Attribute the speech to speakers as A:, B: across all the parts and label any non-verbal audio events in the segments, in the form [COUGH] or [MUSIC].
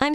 A: I'm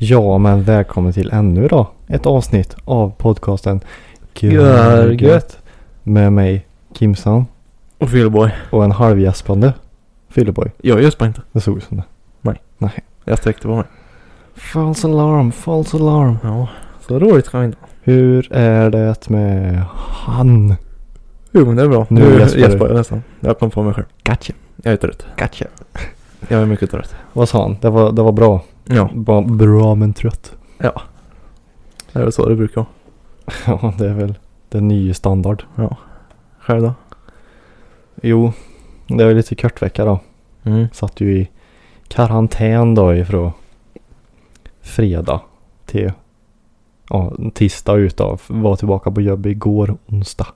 B: Ja, men välkommen till ännu då ett avsnitt av podcasten
C: Görgött.
B: med mig Kimsan
C: Och Fyllborg.
B: och en halvgäspande Fylleboy.
C: Jag gäspar inte.
B: Det såg ut som det.
C: Nej.
B: Nej.
C: Jag sträckte på mig.
B: False alarm, false alarm.
C: Ja, så roligt kan vi inte ha.
B: Hur är det med han?
C: Jo, men det är bra.
B: Nu gäspar du.
C: gäspar jag nästan. Jag kom på mig själv.
B: Gotcha.
C: Jag är trött.
B: Gotcha.
C: Jag är mycket trött.
B: Vad sa han? Det var, det var bra.
C: Ja,
B: Ba, bra men trött.
C: det är väl så det brukar vara.
B: [LAUGHS] Ja, det är väl den nya standard.
C: Själv då?
B: Jo, det var lite kort vecka då.
C: Mm.
B: Satt ju i karantän då ifrån fredag till ja, tisdag utav. Var tillbaka på jobbet igår onsdag.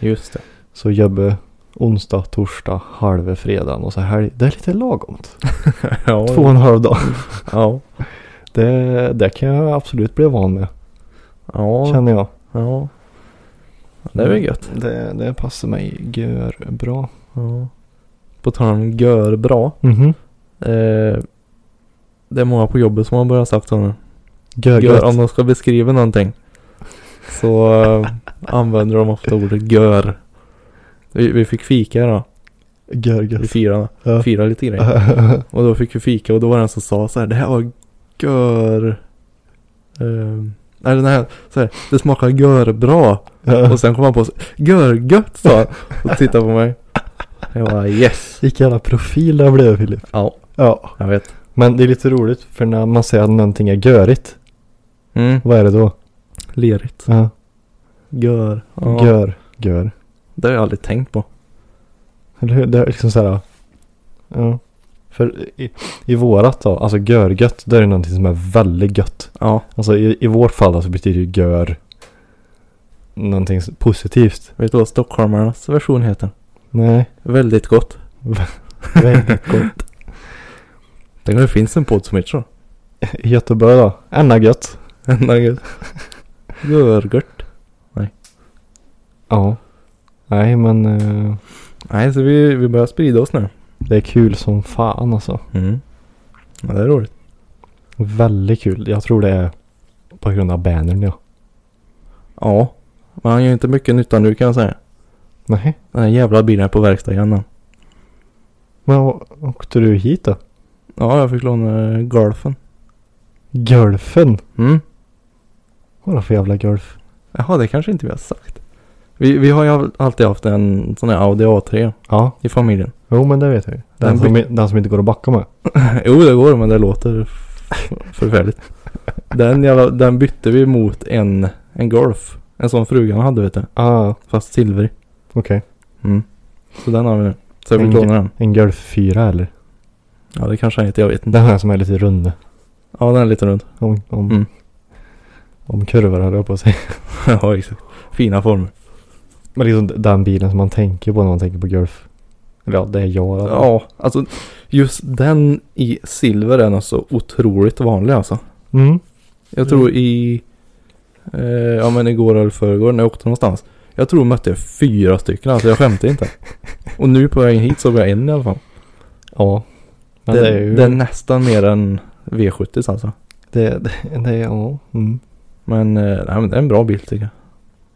C: Just det.
B: Så jobbet onsdag, torsdag, halva fredagen och så helg. Det är lite lagomt.
C: ja,
B: Två och en halv dag.
C: Ja.
B: Det, det kan jag absolut bli van med
C: Ja.
B: känner jag.
C: Ja. Det är väl gött.
B: Det, det passar mig gör bra.
C: Ja. På tal om gör bra.
B: Mhm.
C: Eh, det är många på jobbet som har börjat sagt så nu.
B: Gör,
C: Gör, om
B: gött.
C: de ska beskriva någonting. Så eh, använder de ofta ordet gör. Vi, vi fick fika då.
B: Gör
C: Vi
B: gött.
C: firade.
B: Ja.
C: Firade lite grejer.
B: [LAUGHS]
C: Och då fick vi fika och då var det en som sa så här. Det här var gör. Uh, nej den här. Så här. Det smakar gör bra. Och sen kom han på. så- Gör gött sa han. Och tittade på mig. Jag bara yes.
B: Vilken jävla profil det blev Filip.
C: Ja.
B: Ja.
C: Jag vet.
B: Men det är lite roligt för när man säger att någonting är görigt.
C: Mm.
B: Vad är det då?
C: Lerigt.
B: Ja.
C: Gör. Ja.
B: Gör. Gör.
C: Det har jag aldrig tänkt på.
B: Eller hur? Det är liksom så här. Ja. För i, i vårat då, alltså görgött, det är ju någonting som är väldigt gött.
C: Ja.
B: Alltså i, i vårt fall då så betyder ju gör någonting s- positivt.
C: Vet du vad stockholmarnas version heter?
B: Nej.
C: Väldigt gott.
B: Väldigt gott. [LAUGHS]
C: Tänk om det finns en podd som heter så. [LAUGHS]
B: I Göteborg då? Anna gött.
C: Nugget. Görgört.
B: Ja. Nej men eh,
C: Nej, så vi, vi börjar sprida oss nu.
B: det är kul som fan alltså.
C: Mm. Ja, det är roligt.
B: Väldigt kul. Jag tror det är på grund av bannern ja.
C: Ja. Men han gör inte mycket nytta nu kan jag säga.
B: Nej.
C: Den här jävla bilen är på verkstad igen nu.
B: Men å- åkte du hit då?
C: Ja, jag fick låna eh, golfen.
B: Golfen?
C: Mm.
B: Vadå för jävla golf?
C: Jaha, det kanske inte vi har sagt. Vi, vi har ju al- alltid haft en sån här Audi A3
B: Ja.
C: i familjen. [LAUGHS]
B: Jo men det vet jag ju. Den,
C: Den
B: som, i- den som inte går att backa med.
C: jo, det går men det låter f- förfärligt. [LAUGHS] Den, jävla, den bytte vi mot en, en Golf. En sån frugan hade vet du.
B: Ah.
C: Fast silvrig.
B: Okej.
C: Mm. Så den har vi nu. Så jag fick
B: En
C: låna den.
B: En golf 4 eller?
C: Ja, det kanske han heter. Jag vet inte.
B: Den här som är lite rund.
C: Ja, den är lite rund.
B: Om, om,
C: Mm.
B: om kurvor höll jag på att säga.
C: [LAUGHS]
B: [LAUGHS]
C: ja, exakt. Fina former.
B: Men liksom d- den bilen som man tänker på när man tänker på golf. Eller ja, det är jag. eller?
C: Ja, alltså just den i silver är något så otroligt vanlig alltså.
B: Mm.
C: Jag tror i, eh, ja men igår eller förrgår när jag åkte någonstans. Jag tror jag mötte fyra stycken alltså, jag
B: [LAUGHS]
C: skämtar inte. Och nu på vägen hit såg jag en i alla fall.
B: Ja. Men
C: det,
B: det, är ju...
C: det är nästan mer än V70 alltså.
B: det, det, det är... Ja. Mm.
C: Men, eh, nej, men det är en bra bil tycker jag.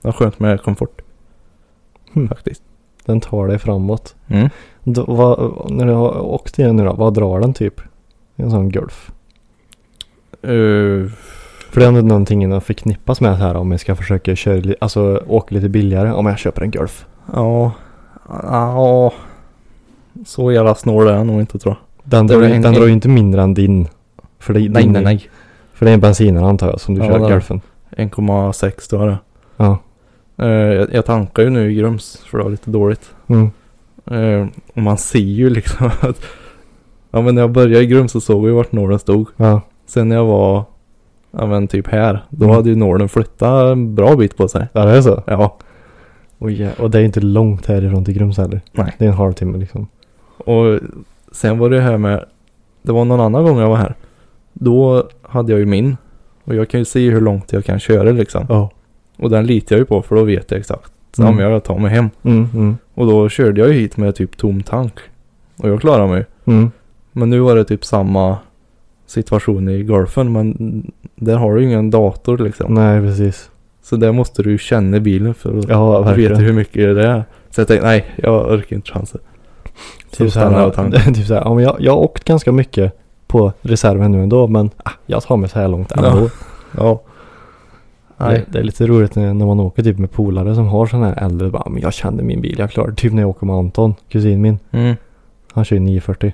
C: Det är skönt med komfort.
B: Hmm.
C: Faktiskt.
B: Den tar dig framåt.
C: Mm.
B: Då, vad, när du har åkt igen nu då, vad drar den typ? En sån golf.
C: Eh,
B: För det är ändå någonting att förknippas med här om jag ska försöka köra, li- alltså åka lite billigare om jag köper en golf.
C: Ja. Ja. Så jävla snål är jag nog inte tror jag.
B: Den,
C: Det
B: drar,
C: blir
B: ju-
C: en-
B: den
C: en-
B: drar ju inte mindre än din. För det, din,
C: nej.
B: För det är en bensinare antar jag som du
C: Ja,
B: kör
C: det-
B: golfen.
C: 1,6 tror jag det.
B: Ja.
C: Eh, jag, jag tankar ju nu i Grums för det var lite dåligt.
B: Mm.
C: Eh, och man ser ju liksom [LAUGHS] att Ja men när jag började i Grum så såg jag ju vart nålen stod.
B: Ja.
C: Sen när jag var, ja men typ här. Då
B: Mm.
C: hade ju nålen flyttat en bra bit på sig.
B: Ja det är så?
C: Ja.
B: Och, ja, och det är ju inte långt härifrån till Grums heller.
C: Nej.
B: Det är en halvtimme liksom.
C: Och sen var det här med, det var någon annan gång jag var här. Då hade jag ju min. Och jag kan ju se hur långt jag kan köra liksom.
B: Ja.
C: Och den litar jag ju på för då vet jag exakt. Ja
B: Mm.
C: men jag tar mig hem.
B: Mm, mm,
C: Och då körde jag ju hit med typ tom tank. Och jag klarade mig.
B: mm.
C: Men nu var det typ samma situation i golfen. Men där har du ju ingen dator liksom.
B: Nej precis.
C: Så där måste du ju känna bilen för att
B: Ja verkligen.
C: veta hur mycket det är. Så jag tänkte nej, jag orkar inte chansen.
B: Typ så [LAUGHS]
C: stannar jag och tar
B: här, typ så här, ja, men jag, jag har åkt ganska mycket på reserven nu ändå men ah, jag tar mig så här långt ändå.
C: Ja.
B: Det,
C: Nej.
B: det är lite roligt när, när man åker typ med polare som har sådana här äldre. Bara, men jag känner min bil, jag klarar det." Typ när jag åker med Anton, kusin min.
C: Mm.
B: Han kör ju 940.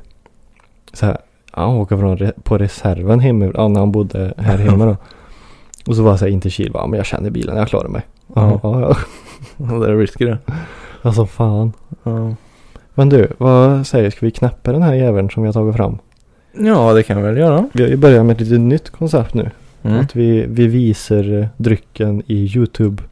B: Så här, han åker från, re- på reserven hemma, ja, när han bodde
C: [LAUGHS]
B: här hemma då. Och så var jag så här in till Kil, bara, men jag känner bilen, jag klarar mig. Ja,
C: Ja.
B: ja, ja. [LAUGHS]
C: ja, [LAUGHS] Det är risky det.
B: Alltså fan.
C: Ja.
B: Men du, vad säger Ska vi knäppa den här jäveln som vi har tagit fram?
C: ja, det kan jag väl göra.
B: Vi har ju börjat med ett litet nytt koncept nu.
C: Mm.
B: Att vi, vi visar eh, drycken i YouTube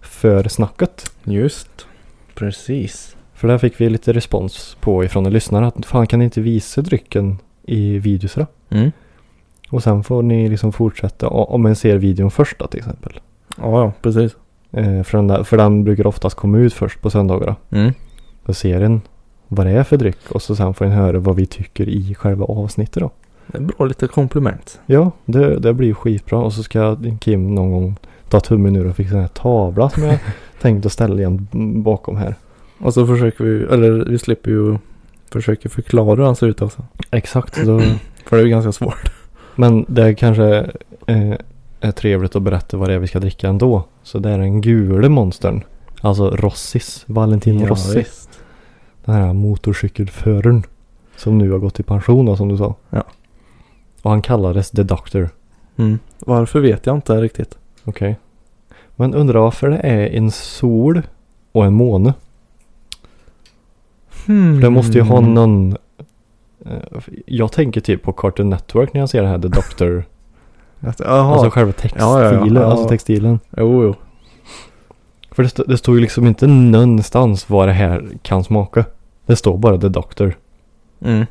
B: för snacket.
C: Just. Precis.
B: För där fick vi lite respons på ifrån en lyssnare att fan kan ni inte visa drycken i videos då?
C: Mm.
B: Och sen får ni liksom fortsätta o- om en ser videon först då, till exempel.
C: Ja, ja, precis.
B: Eh, för, den där, för den brukar oftast komma ut först på söndagar då.
C: Mm.
B: Då ser en vad det är för dryck och så sen får en höra vad vi tycker i själva avsnittet då.
C: Det är bra lite komplement.
B: Ja, det, det blir ju skitbra och så ska Kim någon gång ta tummen ur och fixa den här tavlan som jag [LAUGHS] tänkte att ställa igen bakom här.
C: Och så försöker vi, eller vi slipper ju försöka förklara hur han ser ut också.
B: Exakt, så då
C: För det är ju ganska svårt.
B: Men det kanske eh, är trevligt att berätta vad det är vi ska dricka ändå. Så det är den gula monstern. Alltså Rossis. Valentin Rossi.
C: visst.
B: Den här motorcykelföraren. Som nu har gått i pension då, som du sa.
C: Ja.
B: Och han kallades The Doctor.
C: Mm. Varför vet jag inte riktigt.
B: Okej. Men undrar varför det är en sol och en måne.
C: Hmm.
B: För det måste ju ha
C: Mm.
B: någon... eh, Jag tänker typ på Cartoon Network när jag ser det här The Doctor.
C: Att- Jaha.
B: alltså själva textilen.
C: Ja, ja, ja.
B: Alltså
C: Ja.
B: textilen.
C: jo, jo.
B: För det, stå, det står ju liksom inte någonstans vad det här kan smaka. Det står bara The Doctor.
C: Mm.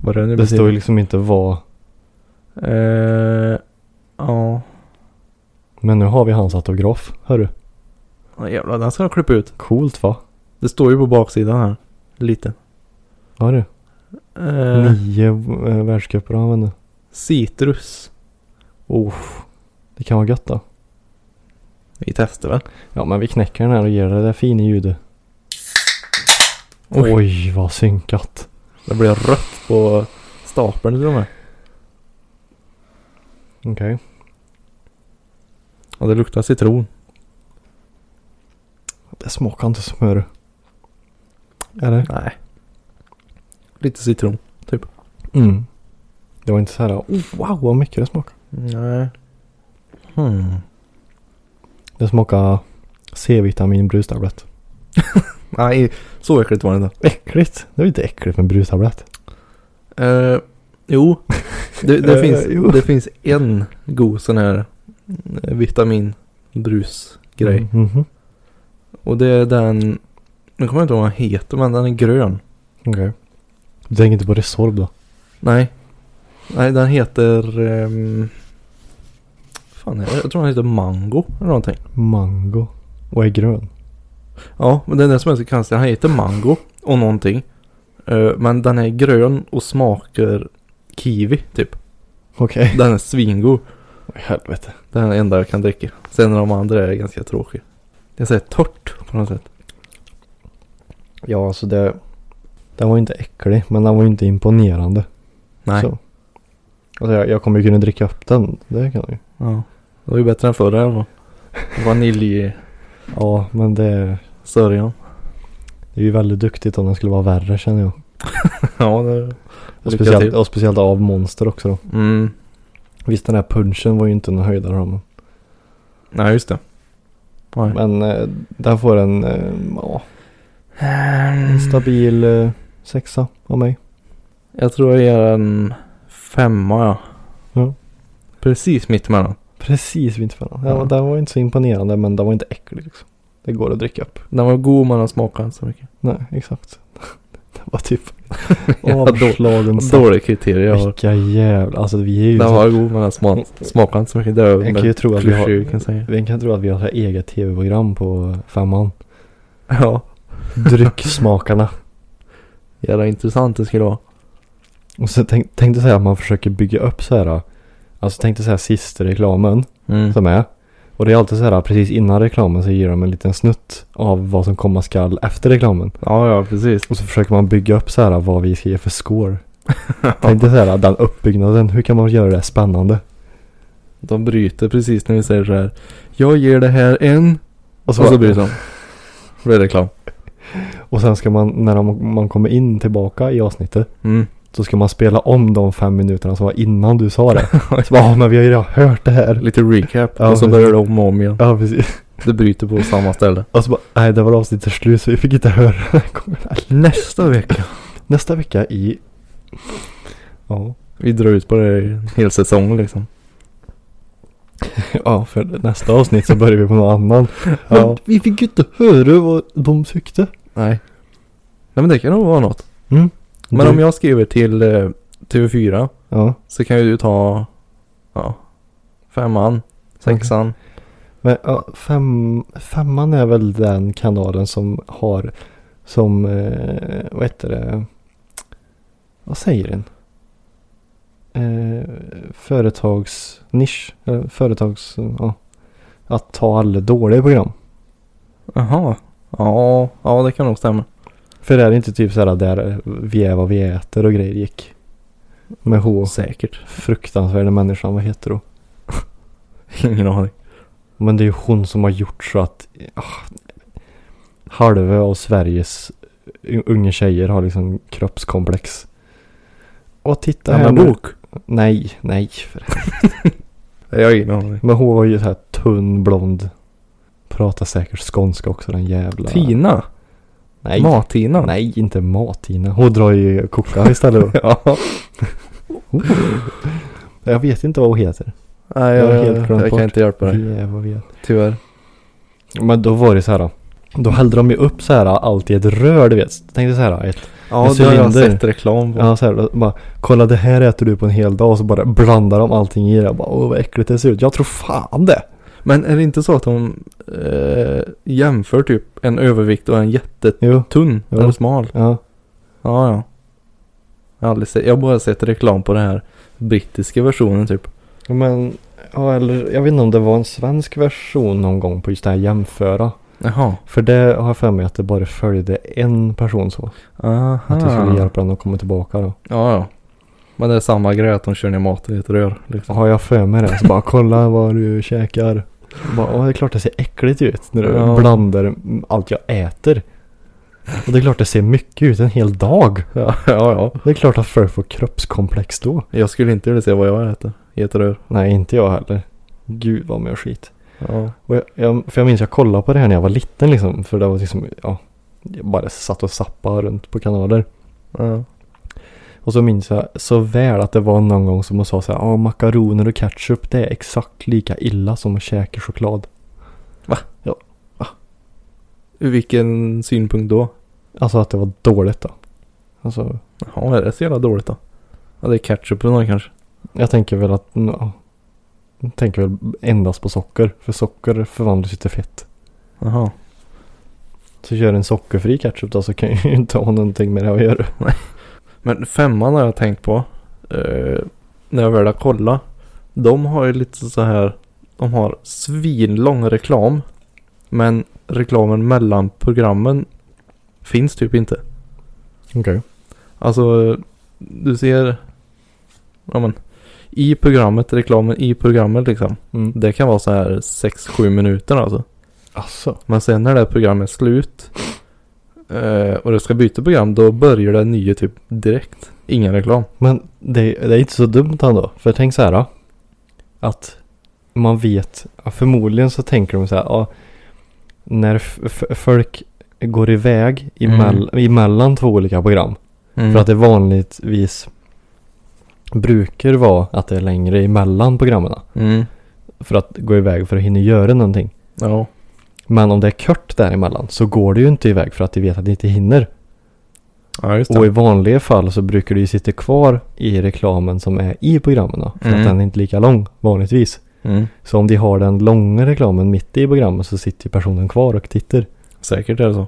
C: Vad är det nu
B: Det står
C: betyder?
B: ju liksom inte vad.
C: Eh, ja.
B: Men nu har vi hans autograf. Hörru.
C: Ja, Jävlar, den ska jag klippa ut.
B: Coolt va?
C: Det står ju på baksidan här. Lite.
B: Ja du.
C: Eh,
B: Nio äh, världscuper har han vunnit.
C: citrus.
B: Oh. Det kan vara gött då.
C: Vi testar väl?
B: Ja men vi knäcker den här och ger det där fina ljudet. Oj, vad synkat.
C: Det blir rött på stapeln till och med.
B: Okej.
C: Och det luktar citron.
B: Det smakar inte smör. Eller?
C: Nej. Lite citron.
B: Mm. Det var inte så här oh, wow vad mycket det smakar.
C: Nej. Hmm.
B: Det smakar C-vitamin brustablett.
C: Nej, så äckligt var det inte.
B: Äckligt. Det är ju inte äckligt med brustablett.
C: Eh, jo, det, [LAUGHS] det,
B: Eh,
C: finns,
B: jo.
C: det finns en god sån här eh, vitaminbrusgrej.
B: Mm, mhm.
C: Och det är den, nu kommer jag inte ihåg vad den heter, men den är grön.
B: Okej. Du tänker inte på Resorb då?
C: Nej. Nej, den heter... Um, fan, är det? jag tror den heter Mango eller någonting.
B: Mango. Och är grön.
C: Ja, men det är det som är så konstigt. Han heter Mango och någonting. Eh, men den är grön och smakar kiwi typ.
B: Okej.
C: Den är svingod.
B: Okay. Helvete.
C: Det är den enda jag kan dricka. Sen de andra är ganska tråkiga. Det är såhär torrt på något sätt.
B: Ja, alltså det... Den var ju inte äcklig, men den var ju inte imponerande.
C: Nej.
B: Så. Alltså jag, jag kommer ju kunna dricka upp den. Det kan jag ju.
C: Ja. Det var ju bättre än förra i alla fall. Vaniljsörjan.
B: Ja, men det, det är ju väldigt duktigt om den skulle vara värre känner jag.
C: [LAUGHS] ja, det...
B: Och
C: Lycka
B: speciellt,
C: till.
B: och speciellt av monster också då.
C: Mm.
B: Visst den här punchen var ju inte någon höjdare då, men-
C: Nej, just det. Nej.
B: Men eh, där får en, eh, ja, en stabil eh, sexa av mig.
C: Jag tror jag ger en femma ja.
B: Ja.
C: Precis mittemellan.
B: Precis vintfällan. Ja,
C: Ja.
B: Den var inte så imponerande men den var inte äcklig liksom. Det går att dricka upp.
C: Den var god men den smakade inte så mycket.
B: Nej, exakt. [LAUGHS] Det var typ
C: [LAUGHS] Ja, då-
B: avslagen saft.
C: Dålig kriterier jag har.
B: Vilka jävla... Alltså vi är ju...
C: Den
B: så-
C: var god men den smak, smakade inte så mycket. Det är
B: Jag kan ju tro att vi har-
C: klyschor, kan jag säga.
B: Vi kan tro att vi har så här eget tv-program på femman.
C: Ja.
B: [LAUGHS] Drycksmakarna.
C: Jävla intressant det skulle vara.
B: Och så tänk, tänkte säga att man försöker bygga upp så här. Alltså tänkte säga sista reklamen
C: Mm.
B: som är. Och det är alltid så här precis innan reklamen så ger de en liten snutt av vad som komma skall efter reklamen.
C: Ja, ja [LAUGHS] precis.
B: Och så försöker man bygga upp så här vad vi ska ge för score. Tänkte så här den uppbyggnaden. Hur kan man göra det spännande?
C: De bryter precis när vi säger så här. Jag ger det här en.
B: Och
C: Och så bryter de. Då blir det reklam.
B: Och sen ska man, när de, man kommer in tillbaka i avsnittet.
C: Mm.
B: Så ska man spela om de fem minuterna som var innan du sa [LAUGHS] det. Så bara, "Ja, men vi har ju redan hört det här.
C: Lite recap.
B: Ja,
C: och så
B: precis.
C: börjar det om och om igen.
B: Ja, precis.
C: Det bryter på samma ställe.
B: Och så bara, nej det var avsnittet slut så vi fick inte höra den här gången.
C: Nästa vecka.
B: Nästa vecka i... Ja.
C: Vi drar ut på det i en hel säsong liksom.
B: ja, för nästa avsnitt så börjar vi på någon annan.
C: Ja.
B: vi fick ju inte höra vad de tyckte.
C: Nej. Nej men det kan nog vara något. Men
B: Mm. Du-
C: om jag skriver till eh, TV4
B: Ja.
C: så kan ju du ta ja, femman, sexan.
B: Men ja, fem, femman är väl den kanalen som har som, eh, vad heter det, vad säger den? Eh, företagsnisch, eh, företags, ja. Att ta alla dåliga program.
C: Jaha. Ja, ja det kan nog stämma. [LAUGHS]
B: För det är inte typ såhär där vi är vad vi äter och grejer gick. Med H.
C: Säkert.
B: Fruktansvärda människan, vad heter hon?
C: Ingen aning.
B: Men det är ju hon som har gjort så att ah, halva av Sveriges u- unga tjejer har liksom kroppskomplex. Och titta här
C: Anna
B: nu.
C: Bok.
B: Nej, nej. för-
C: Jag har ingen aning.
B: Men hon var ju så här tunn, blond. Pratar säkert skånska också den jävla.
C: Tina.
B: Nej.
C: Mat-Tina.
B: Nej, inte Mat-Tina. Hon drar ju koka istället då.
C: [LAUGHS] Ja.
B: [LAUGHS] Jag vet inte vad hon heter.
C: Nej,
B: Jag har
C: jag,
B: helt
C: jag,
B: glömt bort.
C: kan inte hjälpa dig.
B: Vi är vad vi är.
C: Tyvärr.
B: Men då var det så här. Då, då hällde de ju upp så här allt i ett rör du vet. Så Tänkte så här. Ett,
C: Ja,
B: det har jag sett
C: sett reklam på.
B: ja, så här, då bara, kolla det här äter du på en hel dag och så bara blandar de allting i det. Jag Bara, Åh vad äckligt det ser ut. Jag tror fan det.
C: Men är det inte så att de eh, jämför typ en övervikt och en jättetunn
B: Jo. Jo.
C: eller smal?
B: Ja.
C: Ja, ja. Jag har aldrig sett, jag har bara sett reklam på den här brittiska versionen typ.
B: Men, ja, eller jag vet inte om det var en svensk version någon gång på just det här jämföra.
C: Jaha.
B: För det har jag för mig att det bara följde en person så.
C: Aha.
B: Att det skulle hjälpa den att komma tillbaka då.
C: Ja, ja. Men det är samma grej att de kör ner maten i ett rör liksom.
B: Har jag för mig det så bara kolla vad du käkar. Och Bara, "Ja, det är klart det ser äckligt ut när du
C: Ja.
B: blandar allt jag äter. Och det är klart det ser mycket ut en hel dag.
C: Ja, ja, ja.
B: Det är klart att folk får kroppskomplex då.
C: Jag skulle inte vilja se vad jag äter i ett rör.
B: Nej, inte jag heller. Gud vad med skit.
C: Ja.
B: Och jag, jag, för jag minns jag kollade på det här när jag var liten liksom. För det var liksom, ja. Jag bara satt och zappade runt på kanaler.
C: ja.
B: Och så minns jag så väl att det var någon gång som hon sa så här, ja makaroner och ketchup det är exakt lika illa som att käka choklad.
C: Ur vilken synpunkt då?
B: Alltså att det var dåligt då. Alltså,
C: Ja, är det så jävla dåligt då? Ja, det är ketchupen då kanske.
B: jag tänker väl att, ja. Jag tänker väl endast på socker. För socker förvandlas ju till fett.
C: Jaha.
B: Så gör en sockerfri ketchup då så kan jag ju [LAUGHS] inte ha någonting med det att göra.
C: Men femman har jag tänkt på. Eh, när jag väl har kollat. De har ju lite så här. De har svinlång reklam. Men reklamen mellan programmen finns typ inte.
B: Okej.
C: Alltså du ser. Ja men. I programmet, reklamen i programmet liksom.
B: Mm.
C: Det kan vara så här 6-7 minuter alltså.
B: Alltså.
C: Men sen när det här programmet är slut. eh, och du ska byta program. Då börjar det nya typ direkt. Ingen reklam.
B: Men det, det är inte så dumt ändå. För tänk så här. ja, Att man vet. ja, Förmodligen så tänker de så här. Ja, när f- f- folk går iväg emell- emellan två olika program.
C: Mm.
B: För att det vanligtvis brukar vara att det är längre emellan programmen.
C: Mm.
B: För att gå iväg för att hinna göra någonting.
C: Ja.
B: Men om det är kort däremellan så går det ju inte iväg för att de vet att de inte hinner.
C: ja, just det.
B: Och i vanliga fall så brukar det ju sitta kvar i reklamen som är i programmen. då, För
C: Mm.
B: att den är inte lika lång vanligtvis.
C: Mm.
B: Så om de har den långa reklamen mitt i programmet så sitter ju personen kvar och tittar.
C: Säkert är det så.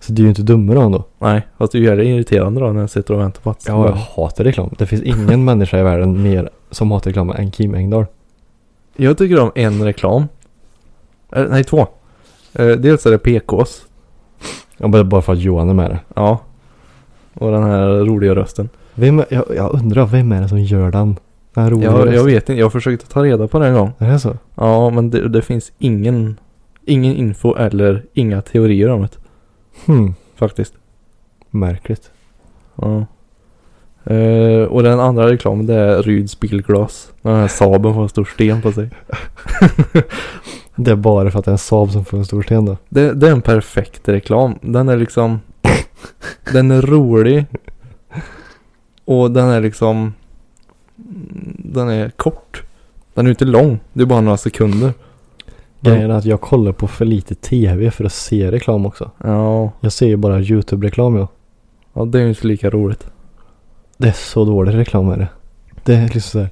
B: Så det är ju inte dummare ändå.
C: Nej, fast det är ju jävligt irriterande då när jag sitter och väntar på att
B: Ja, jag hatar reklam. Det finns ingen [LAUGHS] människa i världen mer som hatar reklam än Kim Engdahl.
C: Jag tycker om en reklam. Eh, nej, två. Eh, dels är det PKs.
B: Ja, men bara för att Johan är med det.
C: Ja. Och den här roliga rösten.
B: Vem, är- jag, jag undrar, vem är det som gör den? Den här roliga
C: Jag, jag
B: rösten.
C: vet inte, jag försökte ta reda på det en gång.
B: Är det så?
C: Ja, men det, det finns ingen, ingen info eller inga teorier om det.
B: Hmm,
C: Faktiskt.
B: märkligt.
C: Ja. Eh, och den andra reklamen det är Ryds bilglas. Den här Saaben får en stor sten på sig.
B: Det är bara för att det är en Saab som får en stor sten då.
C: Det, det är en perfekt reklam. Den är liksom... den är rolig. Och den är liksom... Den är kort. Den är ju inte lång. Det är bara några sekunder.
B: Grejen är att jag kollar på för lite tv för att se reklam också.
C: Ja,
B: Jag ser ju bara YouTube-reklam jag.
C: ja det är ju inte lika roligt.
B: Det är så dålig reklam är det. Det är liksom såhär.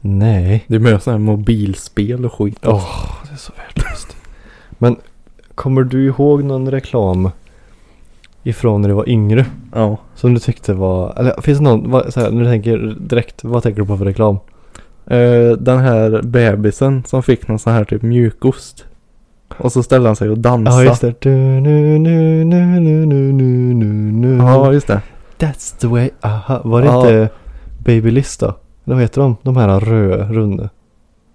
B: Nej.
C: Det är mer sådana här mobilspel och skit.
B: Åh, det är så värdelöst. Men kommer du ihåg någon reklam ifrån när du var yngre?
C: Ja.
B: Som du tyckte var, eller finns det någon, vad, så här, när du tänker direkt, vad tänker du på för reklam?
C: Eh, den här bebisen som fick någon sån här typ mjukost. Och så ställde han sig och dansade.
B: Ja just det. Du, nu, nu, nu, nu, nu, nu, nu, nu.
C: Ja, just det.
B: That's the way, aha. Var det
C: Ja.
B: inte Babyliss då? Eller vad heter de? De här röda, runda.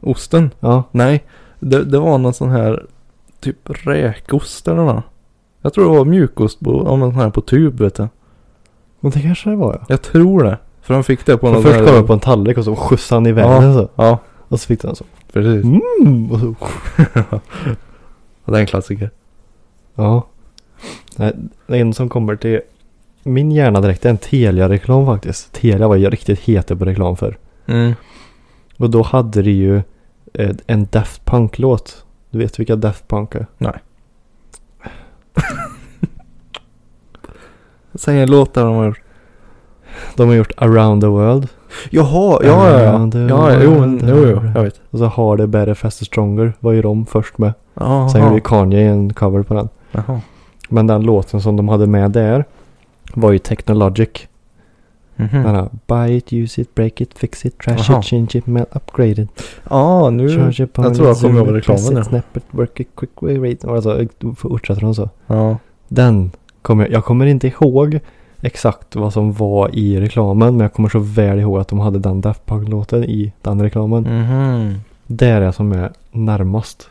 C: Osten.
B: Ja.
C: Nej, det, det var någon sån här typ räkost eller något. Jag tror det var mjukost på, om en sån här på tub vet du.
B: Men det kanske det var ja.
C: Jag tror det. För de fick det på
B: För
C: någon
B: först
C: sån
B: kom
C: här...
B: jag på en tallrik och så skjutsade han iväg
C: Ja.
B: den så.
C: Ja,
B: Och så fick den så.
C: precis. [LAUGHS]
B: Mm, och så.
C: Ja, Det är en klassiker.
B: Ja. Nej, det är en som kommer till min hjärna direkt det är en Telia-reklam faktiskt. Telia var jag riktigt hete på reklam för.
C: Mm.
B: Och då hade det ju eh, en Daft Punk-låt. Du vet vilka Daft Punk är?
C: Säg en låt där de har gjort.
B: De har gjort Around the World.
C: Jaha, ja ja ja.
B: Around the
C: Ja, ja, jo,
B: world,
C: jo, jo,
B: around-
C: jag vet.
B: Och så Harder, Better, Faster, Stronger var ju de först med.
C: Jaha.
B: Sen gjorde Kanye en cover på den.
C: Jaha.
B: Men den låten som de hade med där var ju Technologic.
C: Mhm.
B: Den här Buy it, use it, break it, fix it, trash
C: Jaha.
B: it, change it, melt, upgrade it.
C: Ja, nu...
B: Charge it,
C: jag
B: pound
C: tror
B: it,
C: jag kommer
B: zoom
C: ihåg
B: it, press
C: reklamen
B: it,
C: nu.
B: Snap it, work it, quick way, rate. Och Alltså, då fortsätter de så.
C: Ja.
B: Den kommer jag, jag kommer inte ihåg exakt vad som var i reklamen. Men jag kommer så väl ihåg att de hade den Daft Punk-låten i den reklamen.
C: Mhm.
B: Där är jag som är närmast.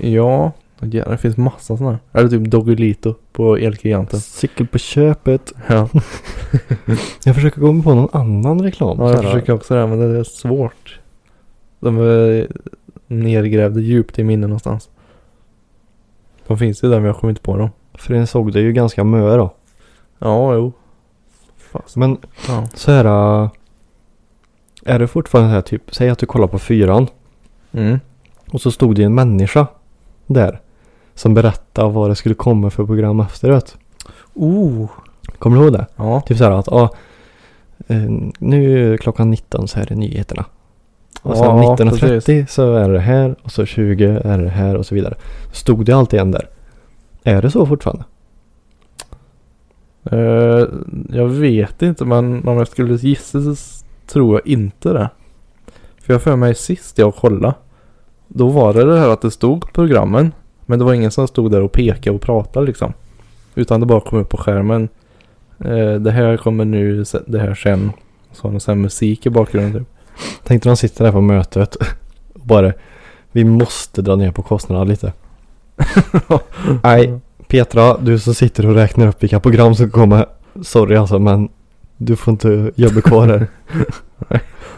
C: Ja. Ja, det finns massa sådana här. Eller typ Doggelito på Elgiganten.
B: Cykel på köpet.
C: Ja.
B: Jag försöker komma på någon annan reklam.
C: Ja,
B: Så
C: jag
B: här,
C: försöker också det, men det är svårt. De är nergrävda djupt i minnen någonstans. De finns ju där, men jag kommer inte på dem.
B: För den såg det ju ganska mö då.
C: Ja, jo. Fast.
B: Men
C: Ja.
B: så här. äh, Är det fortfarande så här typ. Säg att du kollar på fyran.
C: Mm.
B: Och så stod det en människa där. Som berättade vad det skulle komma för program efteråt.
C: Oh.
B: Kommer du ihåg det?
C: Ja.
B: Typ så här att ja. eh, Nu är klockan 19 så är det nyheterna. Och sen
C: Ja,
B: 19.30 så är det här och så 20 är det här och så vidare. Stod det alltid en där. Är det så fortfarande?
C: Eh, jag vet inte, men om jag skulle gissa så s- tror jag inte det. För jag för mig sist jag kollade. Då var det det här att det stod programmen. Men det var ingen som stod där och pekade och pratade liksom. Utan det bara kom upp på skärmen. Eh, det här kommer nu, se- det här sen. Så har de sen musik i bakgrunden [LAUGHS] typ.
B: Tänkte de sitter där på mötet och bara Vi måste dra ner på kostnaderna lite. Nej, Petra, du som sitter och räknar upp vilka program som kommer. Sorry alltså, men du får inte jobba kvar här.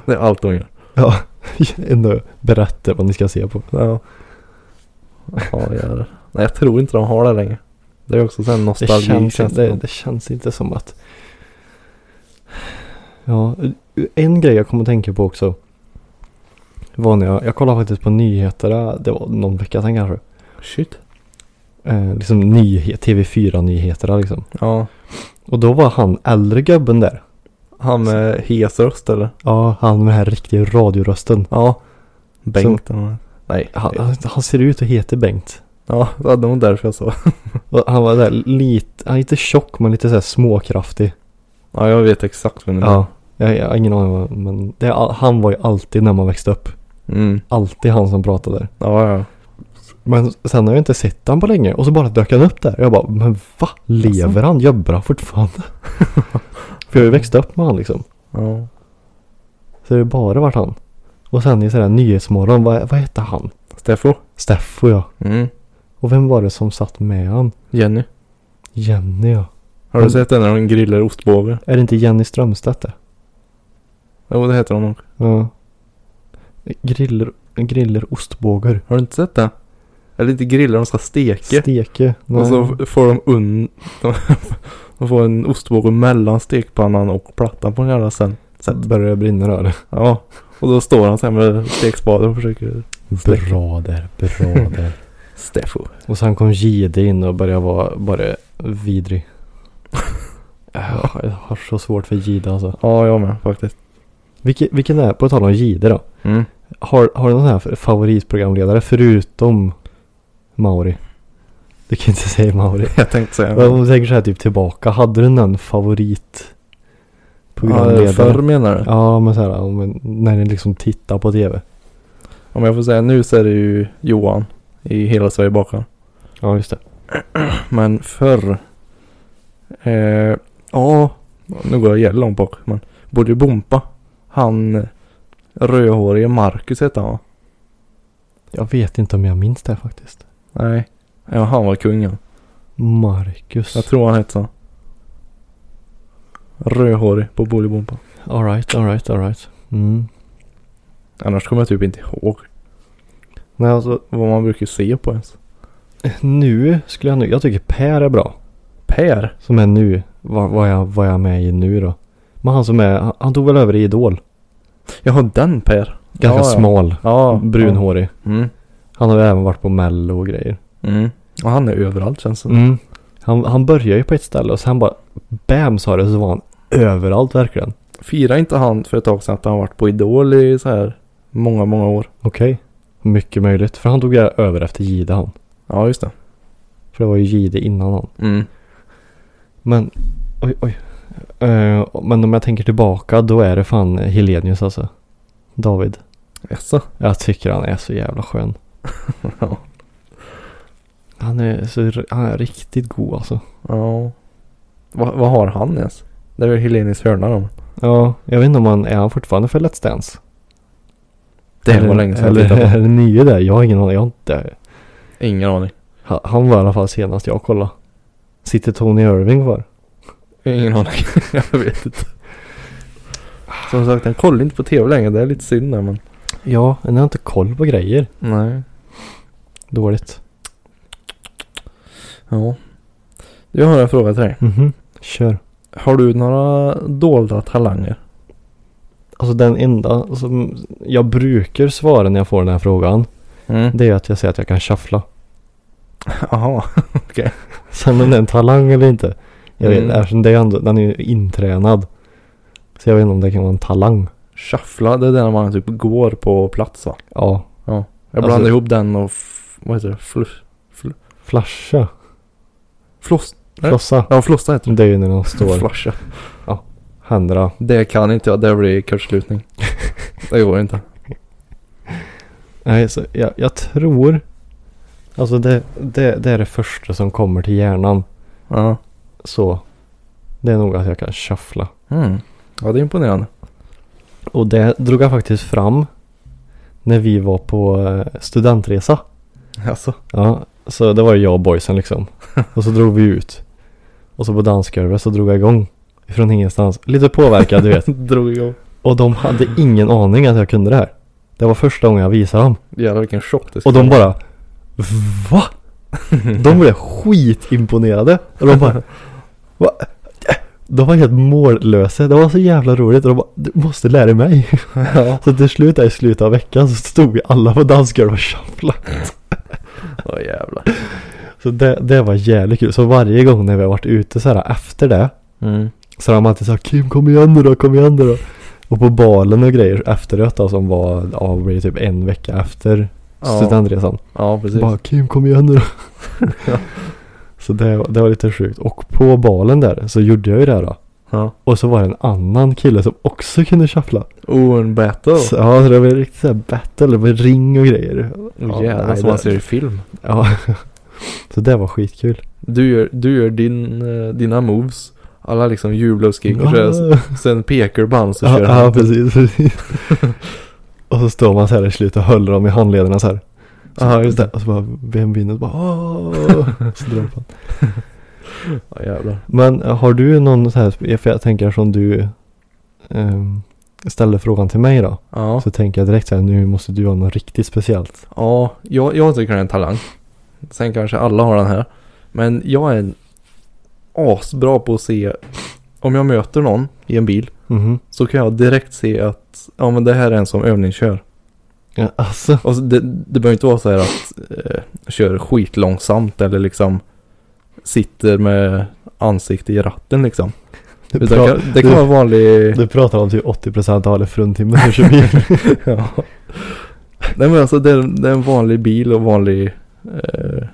C: Det är allt de gör.
B: ja, [LAUGHS] ändå berätta vad ni ska se på.
C: Ja. Ja, jävlar. Nej, jag tror inte de har det längre. Det är också sen
B: Det
C: nostalgi.
B: känns,
C: känns
B: inte,
C: det.
B: det känns inte som att Ja, en grej jag kom att tänka på också. Var när jag, jag kollade faktiskt på nyheterna, det var någon vecka sedan kanske.
C: Shit.
B: Eh, liksom nyhet, TV4-nyheterna liksom.
C: Ja.
B: Och då var han äldre gubben där.
C: Han med hes röst eller?
B: Ja, han med den här riktiga radiorösten.
C: Ja. Bengt eller nåt. Nej.
B: Han, han, han ser ut och heter Bengt.
C: Ja, det var nog därför jag sa.
B: Och han var där lite, han är inte tjock men lite så här småkraftig.
C: Ja, jag vet exakt vem det
B: Ja. Jag, jag har ingen aning vad- men det, han var ju alltid när man växte upp.
C: Mm.
B: Alltid han som pratade där.
C: Ja, ja.
B: Men sen har jag inte sett han på länge och så bara dök han upp där. Jag bara, men va? Lever han? Jobbar han fortfarande? [LAUGHS] För jag har ju växt upp med han liksom.
C: Ja.
B: Så det har bara varit han. Och sen i sådär Nyhetsmorgon, vad, vad hette han?
C: Steffo.
B: Steffo ja.
C: Mm.
B: Och vem var det som satt med han?
C: Jenny.
B: Jenny ja.
C: Har du sett den när de grillar ostbågar?
B: Är det inte Jenny Strömstedt det?
C: Jo, det heter hon nog.
B: Ja. Griller, griller ostbågar.
C: Har du inte sett det? Eller inte grillar, de ska steka.
B: Steke. Nej.
C: och så f- får de un... [LAUGHS] De, får en ostbåge mellan stekpannan och plattan på en jävla sen.
B: så börjar det brinna då eller?
C: Ja. Och då står han sen med stekspaden och försöker... Släck.
B: Bra där, bra där.
C: Steffo.
B: Och sen kom Gide in och började vara bara vidrig. Ja, Jag har så svårt för Gide alltså.
C: Ja, jag med faktiskt.
B: Vilken, vilken är, på tal om Gide då.
C: Mm.
B: Har, har du någon sån här favoritprogramledare förutom Mauri? Du kan inte säga Mauri.
C: Jag tänkte säga.
B: Men Om du tänker så här typ tillbaka. Hade du någon favoritprogramledare?
C: Ja, förr menar du?
B: Ja, men så här om, en- när ni liksom tittar på tv.
C: Om jag får säga nu så är det ju Johan i Hela Sverige bakar.
B: Ja, just det.
C: Men förr. Eh, ja, nu går jag jävligt långt bak. Men Bodde Bompa. Han rödhårige Marcus hette han va?
B: Jag vet inte om jag minns det här faktiskt.
C: Nej. Ja, han var kungen.
B: Marcus.
C: Jag tror han hette så. Rödhårig på Bolibompa.
B: Alright, alright, alright. Mm.
C: Annars kommer jag typ inte ihåg
B: Nej, alltså
C: vad man brukar se på ens.
B: nu skulle jag nu. Jag tycker Per är bra.
C: Per?
B: Som är nu. Vad, vad, jag, vad jag är med i nu då. Men han som är. Han, han tog väl över i Idol.
C: Jag har den Per.
B: Ganska
C: Ja, ja.
B: smal.
C: Ja.
B: Brunhårig.
C: Ja. Mm.
B: Han har ju även varit på mello och grejer.
C: Mm. Och han är överallt känns det som.
B: Mm. Han, han började ju på ett ställe och sen bara. Bam sa det så var han överallt verkligen.
C: Firade inte han för ett tag sedan att han varit på Idol i så här många, många år?
B: Okej. Mycket möjligt. För han tog ju över efter Gide han.
C: Ja, just det.
B: För det var ju Gide innan han.
C: Mm.
B: Men, oj oj. Eh, men om jag tänker tillbaka då är det fan Helenius alltså. David.
C: Jaså?
B: Jag tycker han är så jävla [LAUGHS] skön.
C: Ja.
B: Han är, så, han är riktigt god alltså.
C: Ja. Va, vad har han ens? Det är väl Helenis hörna då?
B: Ja, jag vet inte om han är han fortfarande för Let's Dance.
C: Det
B: Eller-
C: var länge sedan jag
B: Eller
C: tittade
B: är [LAUGHS]
C: [LAUGHS] på.
B: det nye där? Jag har ingen aning. Jag har inte.
C: Ingen aning.
B: Han, han var i alla fall senast jag kollade. Sitter Tony Irving kvar?
C: Ingen aning. [LAUGHS] jag vet inte. Som sagt, den kollar inte på tv längre. Det är lite synd där men.
B: Ja, men jag har inte koll på grejer.
C: Nej.
B: Dåligt.
C: Ja. Jag har en fråga till dig.
B: Mhm, kör.
C: Har du några dolda talanger?
B: Alltså den enda som jag brukar svara när jag får den här frågan.
C: Mm.
B: Det är att jag säger att jag kan shuffla.
C: [LAUGHS] Jaha.
B: Sen om det är en talang eller inte. Jag vet,
C: Mm.
B: eftersom det är ändå, den är ju intränad. Så jag vet inte om det kan vara en talang.
C: Shuffla, det är där man typ går på plats va?
B: Ja,
C: Jag
B: Alltså-
C: blandar ihop den och f- vad heter det? Flush.
B: flasha.
C: Floss. Nej.
B: Flossa.
C: Ja, flossa heter
B: Det är ju när de
C: det.
B: står.
C: Flasha.
B: Händerna.
C: Det kan inte jag. Det blir [LAUGHS] kortslutning. det går inte.
B: Nej, så jag, jag tror. Alltså det, det, det är det första som kommer till hjärnan.
C: Ja.
B: Så. Det är nog att jag kan shuffla.
C: Mm. Ja, det är imponerande.
B: Och det drog jag faktiskt fram. När vi var på eh, studentresa.
C: Alltså.
B: Ja, så det var ju jag och boysen liksom. Och så drog vi ut. Och så på dansgolvet så drog jag igång. Från ingenstans. Lite påverkad du
C: [LAUGHS]
B: vet.
C: Drog igång.
B: Och de hade ingen aning att jag kunde det här. Det var första gången jag visade dem.
C: Jävlar vilken chock det
B: Och
C: skulle
B: de
C: vara.
B: bara Va?
C: [LAUGHS]
B: De blev skitimponerade. Och de bara Va? De var helt mållösa. Det var så jävla roligt. Och de bara, du måste lära mig.
C: ja.
B: Så till slut där i slutet av veckan så stod vi alla på dansgolvet och shufflade.
C: Åh jävlar.
B: Så det, det var jävligt kul. Så varje gång när vi har varit ute så här efter det.
C: Mm.
B: Så har de alltid sagt Kim kom igen nu då, kom igen nu då. Och på balen och grejer efteråt då som var, ja, det blev typ en vecka efter
C: Ja.
B: studentresan.
C: Ja, precis.
B: Bara Kim kom igen
C: [LAUGHS]
B: nu då. så det, det var lite sjukt. Och på balen där så gjorde jag ju det här då.
C: Ja.
B: Och så var det en annan kille som också kunde shuffla.
C: Oh, en battle.
B: Så, ja, så det var riktigt såhär battle med ring och grejer.
C: Oh,
B: Ja,
C: jävlar,
B: nej,
C: som man
B: det-
C: ser i film.
B: Ja. [LAUGHS] Så det var skitkul.
C: Du gör, du gör din, eh, dina moves. Alla liksom jublar och skriker. så- Sen pekar du på han så
B: Ja,
C: kör
B: ja
C: han.
B: precis. precis. och så står man så här i slutet och håller dem i handlederna så här. Så,
C: Ja, just det.
B: Och så bara, vem vinner? Så bara, "Åh!" så drar man.
C: [LAUGHS] Ja, jävlar.
B: Men eh, har du någon så här, för jag tänker som du um, ställde frågan till mig då.
C: Ja,
B: Så tänker jag direkt så här, nu måste du ha något riktigt speciellt.
C: ja jag, jag tycker det är en talang. Sen kanske alla har den här. Men jag är en asbra på att se. Om jag möter någon i en bil.
B: Mhm.
C: Så kan jag direkt se att ja, men det här är en som övningskör.
B: Ja, alltså.
C: Och så det, det behöver inte vara så här att eh, kör skitlångsamt eller liksom sitter med ansikte i ratten liksom.
B: Du,
C: Utan
B: pra-
C: det kan- det kan
B: du-
C: vara vanlig...
B: du pratar om typ 80% av alla fruntimmer som kör
C: [LAUGHS]
B: bil.
C: ja. Nej men alltså det är, det är en vanlig bil och vanlig eh,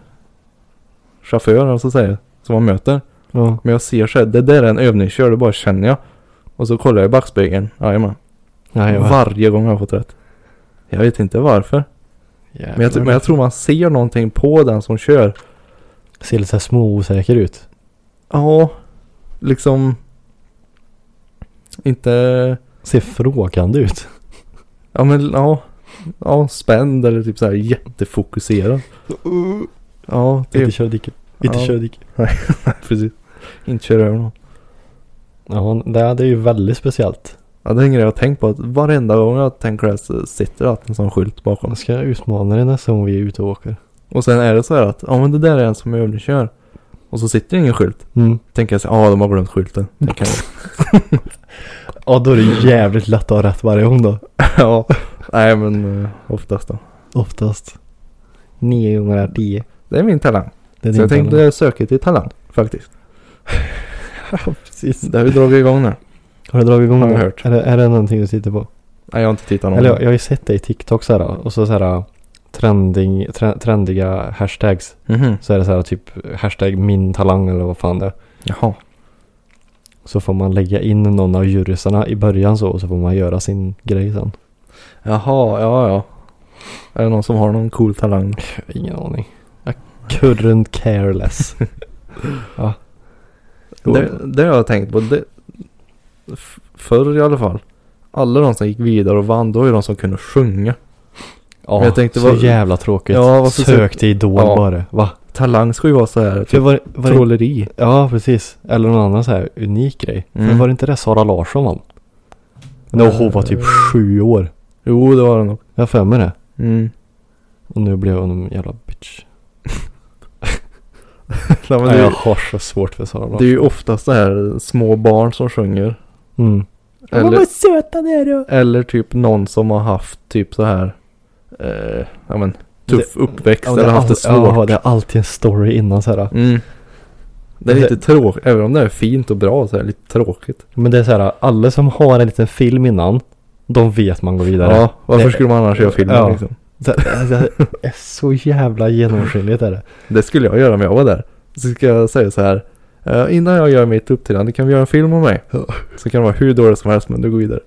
C: chaufför alltså säger som man möter.
B: ja.
C: Men jag ser så här, det där är en övningskör, det bara känner jag. Och så kollar jag i backspegeln, jajamän.
B: Ja, jag
C: Varje gång har jag fått rätt. Jag vet inte varför. Men jag, men jag tror man ser någonting på den som kör.
B: Ser lite så här småosäker ut.
C: Ja, liksom. Inte,
B: Ser frågande ut.
C: ja men ja. Ja, spänd eller typ så här jättefokuserad.
B: Uh.
C: Ja,
B: Inte
C: det
B: köra diket. Inte
C: Ja.
B: köra diket.
C: precis. Inte köra över någon.
B: Ja, det det är ju väldigt speciellt.
C: Ja, det är en grej jag har tänkt på. Att varenda gång jag tänker det här så sitter det alltid en sån skylt bakom.
B: Jag ska utmana dig nästa gång vi är ute och åker.
C: Och sen är det så här att, ja men det där är en som övningskör. Och så sitter det ingen skylt.
B: Mm.
C: Tänker jag så här, ja de har glömt skylten. [LAUGHS] Det kan jag-
B: Ja, då är det jävligt lätt att ha rätt varje gång då.
C: ja, nej men eh, oftast då.
B: Oftast. Nio gånger av tio.
C: Det är min talang.
B: Det är
C: Så
B: din
C: jag
B: plan.
C: tänkte söka till talang faktiskt.
B: Ja, precis.
C: Det har vi dragit igång nu.
B: Har du dragit igång
C: Har
B: det?
C: jag hört.
B: Är det, är det någonting du tittar på?
C: Nej, jag har inte tittat någon.
B: Eller jag, jag har ju sett dig i TikTok så här och så så här äh, trending, tre- trendiga hashtags.
C: Mhm.
B: Så är det så här typ hashtag min talang eller vad fan det är.
C: Jaha.
B: Så får man lägga in någon av jurysarna i början så och så får man göra sin grej sen.
C: Jaha, ja ja. Är det någon som har någon cool talang?
B: Ingen aning. I couldn't care [LAUGHS] less. ja.
C: Det, det har jag tänkt på. Det, f- förr i alla fall. Alla de som gick vidare och vann, då är de som kunde sjunga.
B: ja,
C: men jag tänkte
B: så
C: vad-
B: jävla tråkigt.
C: Ja, varför
B: Sök till Idol
C: Ja.
B: bara. Va?
C: Talang ska ju vara så här,
B: För
C: typ,
B: var, var det,
C: trolleri.
B: ja, precis. Eller någon annan så här unik grej.
C: Mm.
B: För var det inte det Sara Larsson vann? När hon var typ
C: Eh.
B: sju år.
C: Jo, det var det nog.
B: Jag har för mig det.
C: [LAUGHS] Mm.
B: Och nu blev hon en jävla bitch.
C: Nej, men
B: Nej,
C: det,
B: jag
C: är-
B: har så svårt för Sara Larsson.
C: det är ju oftast så här små barn som sjunger.
B: Mm.
C: Eller,
B: söta ni är då.
C: eller typ någon som har haft typ så här, eh, ja men, tuff uppväxt
B: Ja, det,
C: eller
B: är
C: haft det
B: alltid,
C: svårt.
B: ja, det är alltid en story innan så här.
C: Mm. Det är
B: Det-
C: lite tråkigt, även om det är fint och bra så är det lite tråkigt.
B: Men det är så här, alla som har en liten film innan, de vet man går vidare.
C: Ja, varför
B: Det-
C: skulle man annars göra filmen
B: Ja.
C: liksom?
B: Det, det är så jävla genomskinligt är det.
C: Det skulle jag göra om jag var där. Så ska jag säga så här. eh, innan jag gör mitt uppträdande kan vi göra en film om mig.
B: Ja.
C: Så kan det vara hur dåligt som helst men du går vidare.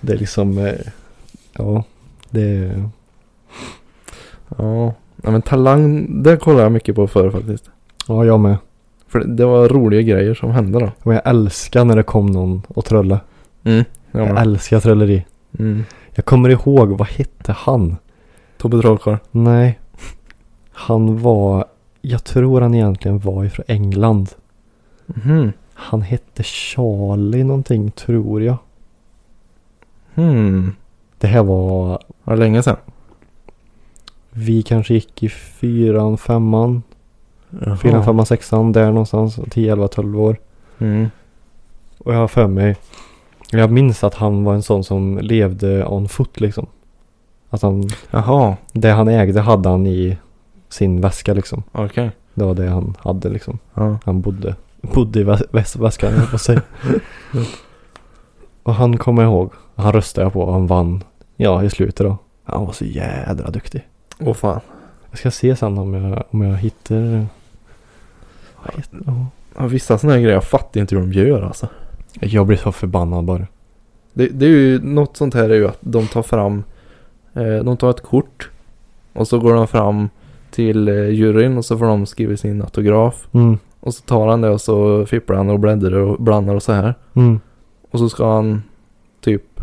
B: Det är liksom, eh, ja, det är,
C: Ja. ja men talang, det kollar jag mycket på förr faktiskt.
B: ja jag med.
C: För det, det var roliga grejer som hände då.
B: Men jag älskar när det kom någon och trölla.
C: Mm. Ja,
B: jag
C: men.
B: älskar trolleri.
C: Mm.
B: Jag kommer ihåg, vad hette han?
C: Tobbe Trollkarl.
B: Nej. Han var, jag tror han egentligen var ifrån England.
C: Mhm.
B: Han hette Charlie någonting, tror jag.
C: Hmm.
B: Det här var,
C: Var det länge sedan?
B: vi kanske gick i fyran, femman. Fyran, femman, sexan, där någonstans. 10, 11, 12 år.
C: Mm.
B: Och jag har för mig, jag minns att han var en sån som levde on foot liksom. Att han,
C: Jaha,
B: det han ägde hade han i sin väska liksom.
C: okej.
B: Det var det han hade liksom.
C: Ja.
B: Han bodde, bodde i väs- väs- väskan höll jag på sig. [LAUGHS] Och han kommer jag ihåg, han röstade jag på och han vann. Ja, i slutet då. Han var så jädra duktig.
C: Åh fan.
B: Jag ska se sen om jag, om jag hittar... Vad heter- ja.
C: Ja, vissa sådana här grejer, jag fattar inte hur de gör alltså.
B: Jag blir så förbannad bara.
C: Det, det är ju något sånt här är ju att de tar fram, eh, de tar ett kort och så går de fram till eh, juryn och så får de skriva sin autograf.
B: Mm,
C: Och så tar han det och så fipplar han och bläddrar och blandar och så här.
B: mm,
C: Och så ska han typ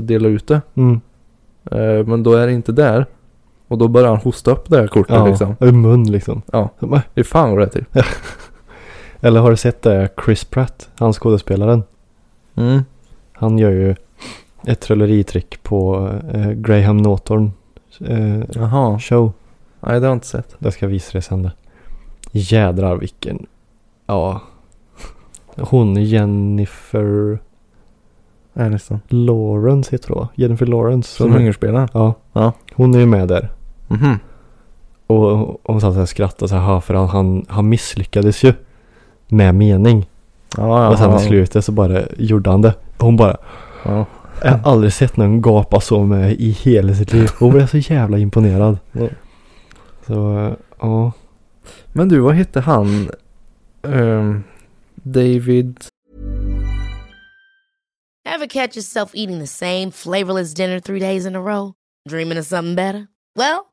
C: dela ut det.
B: mm.
C: Eh, men då är det inte där. Och då börjar han hosta upp det här kortet
B: Ja,
C: liksom.
B: i mun liksom.
C: Ja.
B: Men-
C: Det är fan vad det är typ. till.
B: [LAUGHS] Eller har du sett det? Chris Pratt, han skådespelaren.
C: Mm.
B: Han gör ju ett trolleritrick på eh, Graham Norton eh,
C: Jaha.
B: show.
C: Nej det har jag inte sett.
B: Det ska jag visa dig sen det. Jädrar vilken. Ja. Hon Jennifer
C: Aniston.
B: Lawrence heter hon va? Jennifer Lawrence.
C: Som hungerspelaren.
B: ja.
C: Ja.
B: Hon är ju med där.
C: Mm. Mhm.
B: Och och hon satt och skrattade så här för han, han, han misslyckades ju. Med mening.
C: Ja, ja,
B: och sen
C: ja.
B: i slutet så bara gjorde han det. Och hon bara.
C: Ja.
B: Jag har aldrig sett någon gapa så med i hela sitt liv. Hon blev så jävla imponerad.
C: Ja.
B: Så eh, ja.
C: Men du, vad hette han? Ehm, David...
D: Ever catch yourself eating the same flavorless dinner three days in a row? Dreaming of something better? Well,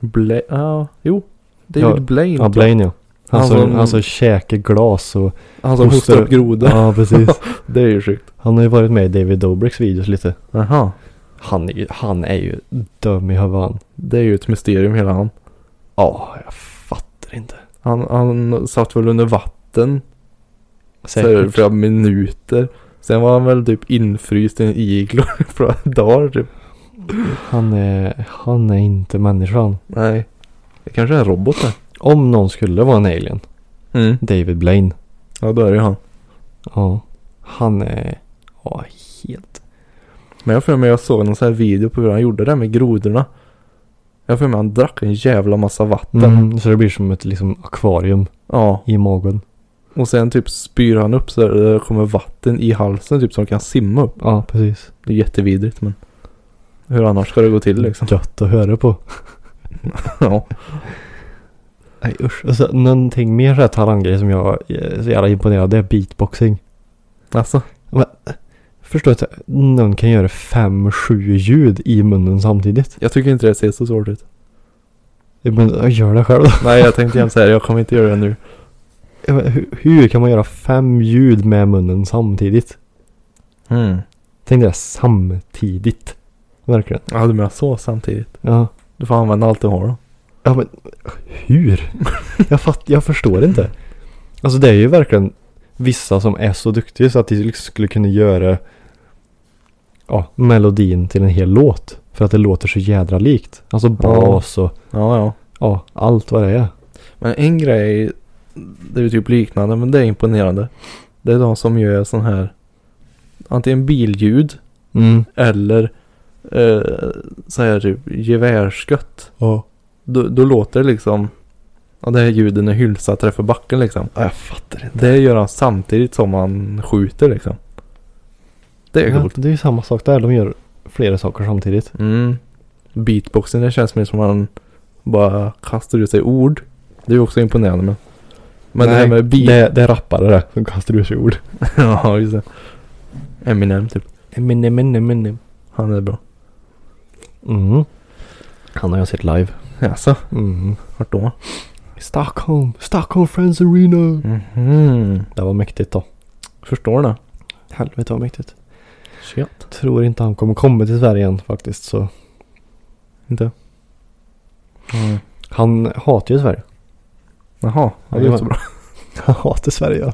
C: Bla... Ja, jo. David
B: Ja,
C: Blaine. typ.
B: Ja, Blaine ja. Han,
C: Han
B: som,
C: som-
B: han som käkar glas
C: [LAUGHS]
B: och...
C: Han som hostar upp groda.
B: Ja, precis.
C: [LAUGHS] Det är ju sjukt.
B: Han har ju varit med i David Dobricks videos lite.
C: Jaha.
B: Han är ju, han är ju dum i huvudet han.
C: Det är ju ett mysterium hela han.
B: Ja, jag fattar inte.
C: Han, han satt väl under vatten så här,
B: Säkert.
C: flera minuter. Sen var han väl typ infryst i en iglo [LAUGHS] i flera dagar typ.
B: Han är, han är inte människan.
C: Nej. Det kanske är en robot där.
B: Om någon skulle vara en alien.
C: Mm.
B: David Blaine.
C: Ja, då är det ju han.
B: Ja. Han är... Ja, helt...
C: Men jag för mig jag såg någon sån här video på hur han gjorde det med grodorna. Jag för mig han drack en jävla massa vatten.
B: Mm, så det blir som ett liksom akvarium
C: Ja.
B: i magen.
C: Och sen typ spyr han upp så här, det kommer vatten i halsen typ som kan simma upp.
B: Ja, precis.
C: Det är jättevidrigt men. Hur annars ska det gå till liksom?
B: Gött att höra på.
C: [LAUGHS] ja.
B: Nej usch. Och så, Alltså, någonting mer så här talanggrej som jag är så jävla imponerad av, det är beatboxing.
C: Alltså.
B: Förstår inte, någon kan göra fem, sju ljud i munnen samtidigt.
C: Jag tycker inte det ser så svårt ut.
B: Men jag gör det själv då.
C: Nej jag tänkte jämt säga det. Jag kommer inte göra det nu.
B: Jag bara, Hur, hur kan man göra fem ljud med munnen samtidigt?
C: Mm.
B: Tänk det, samtidigt. Verkligen.
C: Ja du menar så samtidigt.
B: Ja.
C: Du får använda allt du har då.
B: Ja men hur? Jag, fatt, jag förstår inte. Alltså det är ju verkligen vissa som är så duktiga så att de liksom skulle kunna göra ja, melodin till en hel låt. För att det låter så jädra likt. Alltså bas och
C: Ja ja.
B: ja, allt vad det är.
C: Men en grej. Det är ju typ liknande men det är imponerande. Det är de som gör sån här. Antingen billjud.
B: Mm.
C: Eller. Eh, så här typ gevärsskott.
B: Ja.
C: Då, då låter det liksom. Ja det här ljuden när hylsa träffar backen liksom.
B: Jag fattar inte.
C: Det gör han samtidigt som han skjuter liksom. Det är
B: Ja,
C: coolt.
B: det är ju samma sak där. De gör flera saker samtidigt.
C: Mm. Beatboxen, det känns mer som han bara kastar ut sig ord. Det är ju också imponerande men. Men det här med beat.
B: det, det är rappare det som kastar ur sig ord.
C: [LAUGHS] ja, just det. Eminem typ.
B: Eminem, Eminem, Eminem.
C: Han är bra.
B: Mm. Han har jag sett live.
C: Jaså?
B: Mm.
C: Vart då?
B: Stockholm, Stockholm Friends Arena.
C: Mhm.
B: Det var mäktigt då.
C: Förstår det.
B: Helvete vad mäktigt.
C: Shit.
B: Tror inte han kommer komma till Sverige än faktiskt så.
C: Inte? Mm.
B: Han hatar ju Sverige.
C: Jaha, det är
B: Ja,
C: inte så
B: men-
C: bra.
B: [LAUGHS] Han hatar Sverige ja.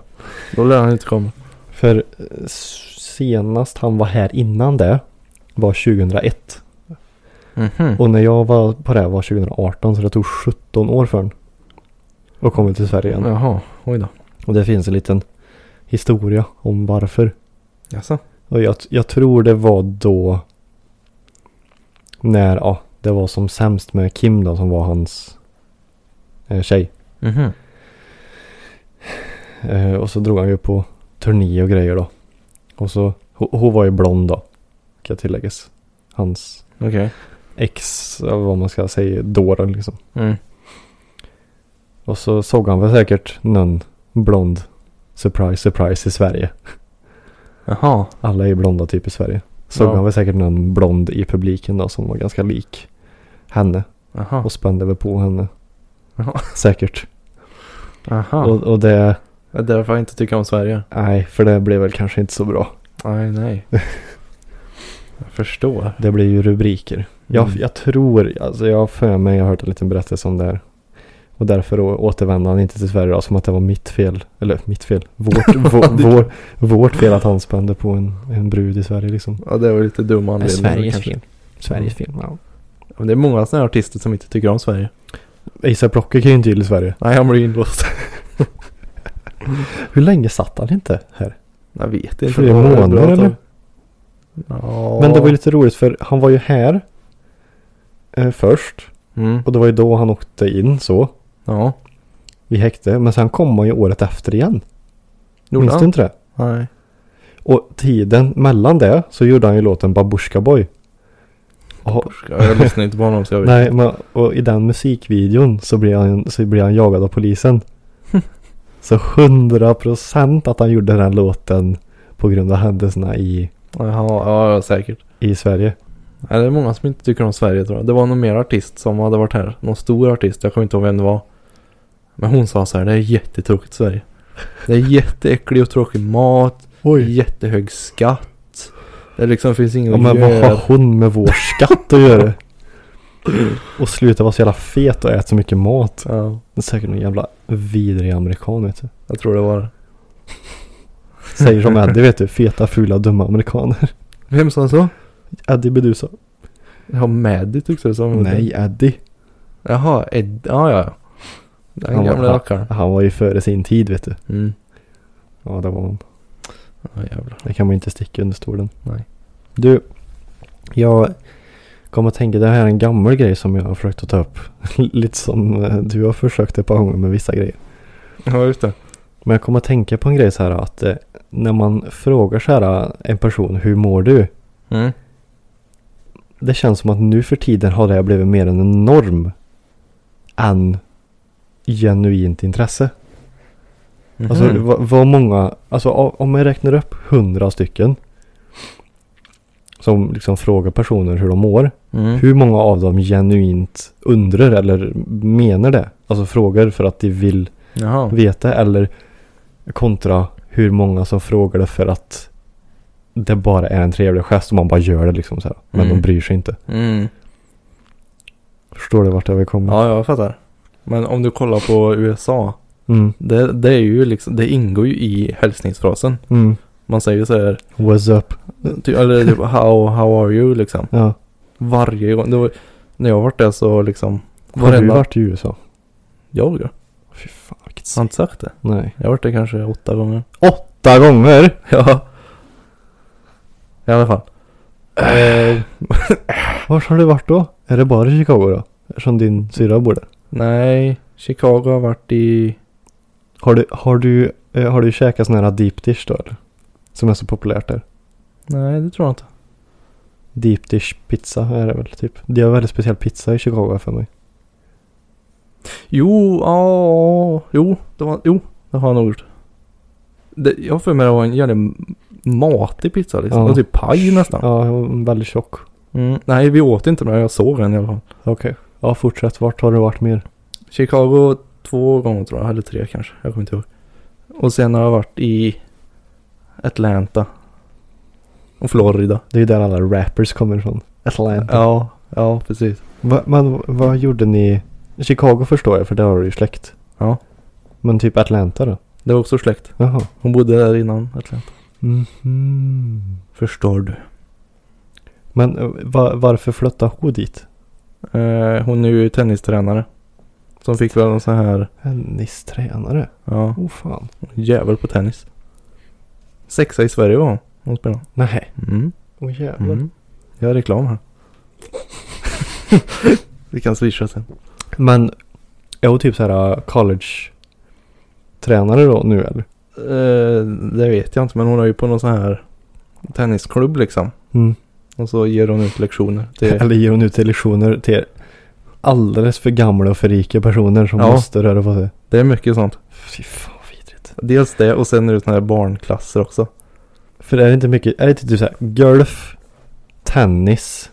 C: Då lär han inte komma.
B: För eh, s- senast han var här innan det var 2001.
C: Mhm.
B: Och när jag var på det här var 2018 så det tog 17 år för honom. Och komma till Sverige igen.
C: Jaha, oj då.
B: Och det finns en liten historia om varför.
C: Jaså?
B: Och jag, jag tror det var då när ja, det var som sämst med Kim då som var hans eh, tjej.
C: Mhm.
B: Eh, och så drog han ju på turné och grejer då. Och så, hon, hon var ju blond då. Kan tilläggas. Hans
C: Okej.
B: ex, eller vad man ska säga, dåren liksom.
C: Mm.
B: Och så såg han väl säkert någon blond. Surprise, surprise i Sverige.
C: Jaha.
B: Alla är blonda typ i Sverige. Såg
C: Ja.
B: han väl säkert någon blond i publiken då som var ganska lik henne.
C: Jaha.
B: Och spände väl på henne.
C: Jaha.
B: Säkert.
C: Jaha.
B: Och, och det,
C: Det är därför jag inte tycker om Sverige.
B: nej för det blev väl kanske inte så bra.
C: Nej, [LAUGHS] nej. jag förstår.
B: Det blir ju rubriker. Jag,
C: Mm.
B: jag tror, alltså jag har för mig, jag har hört en liten berättelse om det här. Och därför å- återvände han inte till Sverige då, som att det var mitt fel. Eller mitt fel. Vårt,
C: [LAUGHS]
B: vår, vår, vårt fel att han spände på en, en brud i Sverige liksom.
C: Ja, det var lite dum anledning. Sveriges
B: fel, ja.
C: Men det är många sådana här artister som inte tycker om Sverige.
B: ASAP Rocky kan ju inte gilla Sverige.
C: Nej, han blir inlåst.
B: Hur länge satt han inte här?
C: jag vet inte.
B: Flera
C: vad det är bra
B: månader,
C: att-
B: eller?
C: Ja.
B: Men det var ju lite roligt för han var ju här eh, först.
C: Mm.
B: Och det var ju då han åkte in så.
C: Ja.
B: I häkte. Men sen kom han ju året efter igen.
C: Gjorde
B: Minns du
C: han?
B: inte det?
C: Nej.
B: Och tiden mellan det så gjorde han ju låten Babushka Boy. Och,
C: Jag lyssnar inte på honom så jag vet.
B: nej, men, och i den musikvideon så blir han, så blir han jagad av polisen. så 100 procent att han gjorde den låten på grund av händelserna i,
C: Jaha, ja, ja säkert.
B: i Sverige.
C: Nej, det är många som inte tycker om Sverige tror jag. Det var någon mer artist som hade varit här. Någon stor artist, jag kommer inte ihåg vem det var. Men hon sa så här, det är jättetråkigt i Sverige. Det är jätteäcklig och tråkig mat, jättehög skatt. Det liksom finns inget
B: Ja, men
C: att
B: vad har
C: göra.
B: hon med vår skatt att göra? Och sluta vara så jävla fet och äta så mycket mat.
C: Ja,
B: Det är säkert någon jävla vidrig amerikan vet du.
C: jag tror det var det.
B: Säger som Eddie vet du. Feta, fula, dumma amerikaner. [LAUGHS]
C: Vem sa så?
B: Eddie Bedusa.
C: Ja, Maddy tycks det som.
B: Nej, Eddie.
C: Jaha, Ed, ja ja. Den
B: Han var-
C: gamla rackaren.
B: Han var ju före sin tid vet du.
C: Mm.
B: Ja det var han.
C: Ja jävlar.
B: Det kan man ju inte sticka under stolen.
C: Nej.
B: Du, jag kom att tänka, det här är en gammal grej som jag har försökt att ta upp. [LAUGHS] Lite som eh, du har försökt ett par gånger med vissa grejer.
C: Ja just det.
B: Men jag kom att tänka på en grej så här att eh, när man frågar så här eh, en person, hur mår du?
C: Mm.
B: Det känns som att nu för tiden har det här blivit mer en norm än genuint intresse. Alltså
C: Mhm.
B: vad, vad många, alltså o- om man räknar upp hundra stycken som liksom frågar personer hur de mår.
C: mm.
B: Hur många av dem genuint undrar eller menar det? Alltså frågar för att de vill
C: Jaha.
B: veta eller kontra hur många som frågar det för att det bara är en trevlig gest och man bara gör det liksom så här. Men
C: Mm.
B: de bryr sig inte.
C: Mm.
B: Förstår du vart jag vill komma?
C: Ja, jag fattar. Men om du kollar på USA.
B: Mm.
C: Det, det är ju liksom, det ingår ju i hälsningsfrasen.
B: Mm.
C: Man säger så här,
B: What's up?
C: ty, eller typ how, how are you liksom.
B: Ja.
C: Varje gång. Det var, när jag varit där så liksom.
B: Har du
C: varenda-
B: varit i USA?
C: Jag ja.
B: Fy fan vilket
C: Har inte sagt det?
B: Nej.
C: Jag har varit där kanske åtta gånger. [LAUGHS]
B: Åtta gånger?
C: Ja. I alla fall. Eh,
B: [LAUGHS] Vart har du varit då? Är det bara i Chicago då? Eftersom din syrra bor där.
C: nej, Chicago har varit i...
B: Har du, har du, eh, har du käkat sån här deep dish då eller? Som är så populärt där.
C: Nej, det tror jag inte.
B: Deep dish pizza är det väl typ. De har väldigt speciell pizza i Chicago för mig.
C: Jo, ja, jo, det var, jo, det har han nog gjort. Det, jag har för mig det var en jävligt matig pizza liksom.
B: Ja.
C: Det var typ paj nästan.
B: Ja, hon är väldigt tjock.
C: Mm, nej, vi åt inte men jag såg den i alla fall.
B: Okej. Ja, fortsätt. Vart har du varit mer?
C: Chicago två gånger tror jag, eller tre kanske. Jag kommer inte ihåg. Och sen har jag varit i Atlanta. Och Florida.
B: Det är ju där alla rappers kommer ifrån. Atlanta.
C: Ja, ja precis.
B: Va, men vad gjorde ni? Chicago förstår jag för där har du ju släkt.
C: Ja.
B: Men typ Atlanta då?
C: Det var också släkt.
B: Jaha.
C: Hon bodde där innan Atlanta.
B: Mhm.
C: Förstår du.
B: Men eh, va, varför flyttade hon dit?
C: Eh, hon är ju tennistränare. Som fick väl en sån här,
B: Hennes tränare.
C: ja,
B: Oh fan.
C: jävel på tennis. Sexa i Sverige var hon. Hon spelade.
B: Nej.
C: Mm.
B: Åh oh, jävlar.
C: Mm. Jag har reklam [LAUGHS] här. Vi kan swisha sen.
B: Men är hon typ så här college-tränare då nu eller?
C: Eh, det vet jag inte men hon är ju på någon sån här tennisklubb liksom.
B: Mm.
C: Och så ger hon ut lektioner. Till,
B: [LAUGHS] Eller ger hon ut lektioner till alldeles för gamla och för rika personer som
C: Ja.
B: måste röra på sig?
C: det är mycket sånt.
B: Fy fan vad vidrigt.
C: Dels det och sen är det såna här barnklasser också.
B: För är det inte mycket, är det inte typ såhär golf, tennis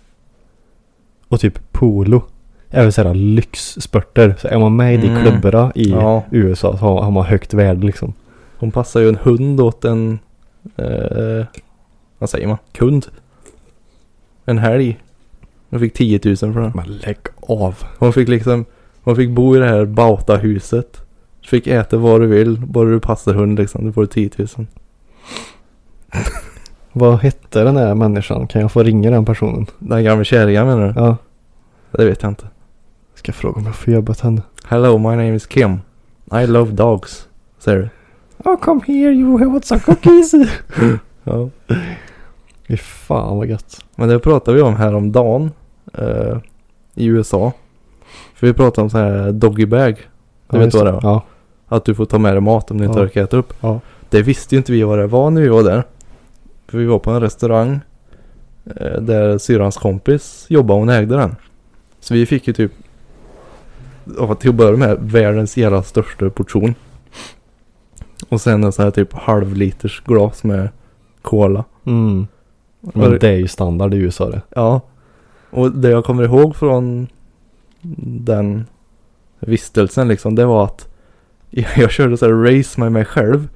B: och typ polo? Även såhär lyxsporter. Så är man med i de
C: Mm.
B: klubbarna i
C: Ja.
B: USA så har har man högt värde liksom.
C: Hon passar ju en hund åt en... Eh, vad säger man? Kund. En helg. Hon fick 10 000 för det.
B: Men lägg av.
C: Hon fick liksom... Hon fick bo i det här Bauta-huset. Fick äta vad du vill. Bara du passar hund liksom. Du får 10 000.
B: Vad hette den där människan? Kan jag få ringa den personen?
C: Den gamla kärringen menar du?
B: Ja.
C: Det vet jag inte.
B: Ska jag fråga om jag får jobba åt henne.
C: Hello, my name is Kim. I love dogs. Säger du?
B: Oh come here you have some cookies.
C: [LAUGHS] Ja.
B: Fy fan vad gött.
C: Men det pratade vi om häromdagen. Eh, I USA. För vi pratade om så här doggy bag. Du vet
B: just
C: vad det var?
B: Ja.
C: Att du får ta med dig mat om du inte
B: Ja.
C: orkar äta upp.
B: Ja.
C: Det visste ju inte vi vad det var när vi var där. För vi var på en restaurang. eh, Där syrrans kompis jobbade. Hon ägde den. Så vi fick ju typ. ja, Till att börja med världens jävla största portion. Och sen en sån här typ halvliters glas med cola.
B: Mm.
C: Och
B: Men det är ju standard i USA det.
C: Ja. Och det jag kommer ihåg från den vistelsen liksom, det var att [LAUGHS] jag körde så här race med mig själv.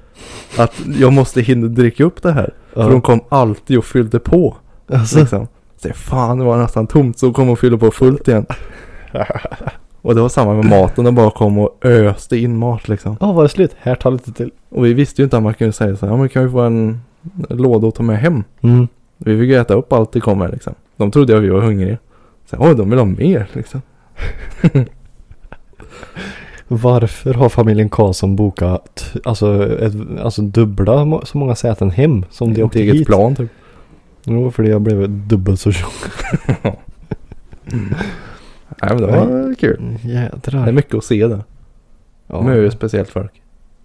C: Att jag måste hinna dricka upp det här. För de kom alltid och fyllde på.
B: Alltså.
C: Liksom. Så jag, fan, det var nästan tomt. Så kom och fyllde på fullt igen. Och det var samma med maten. De bara kom och öste in mat liksom.
B: Ja var det slut? Här tar lite till.
C: Och vi visste ju inte att man kunde säga så här, ja men kan vi få en låda att ta med hem?
B: Mm.
C: Vi fick ju äta upp allt det kom här liksom. De trodde att vi var hungriga. Sen, oj, de vill ha mer liksom.
B: Varför har familjen Karlsson bokat t- alltså, ett, alltså dubbla må- så många säten hem som de
C: Ett
B: åkte
C: eget
B: hit?
C: plan typ.
B: Jo, för jag blev dubbelt så tjock.
C: Nej men det var kul. Det är
B: Mm, Jädrar.
C: mycket att se där.
B: Ja.
C: De är ju speciellt folk.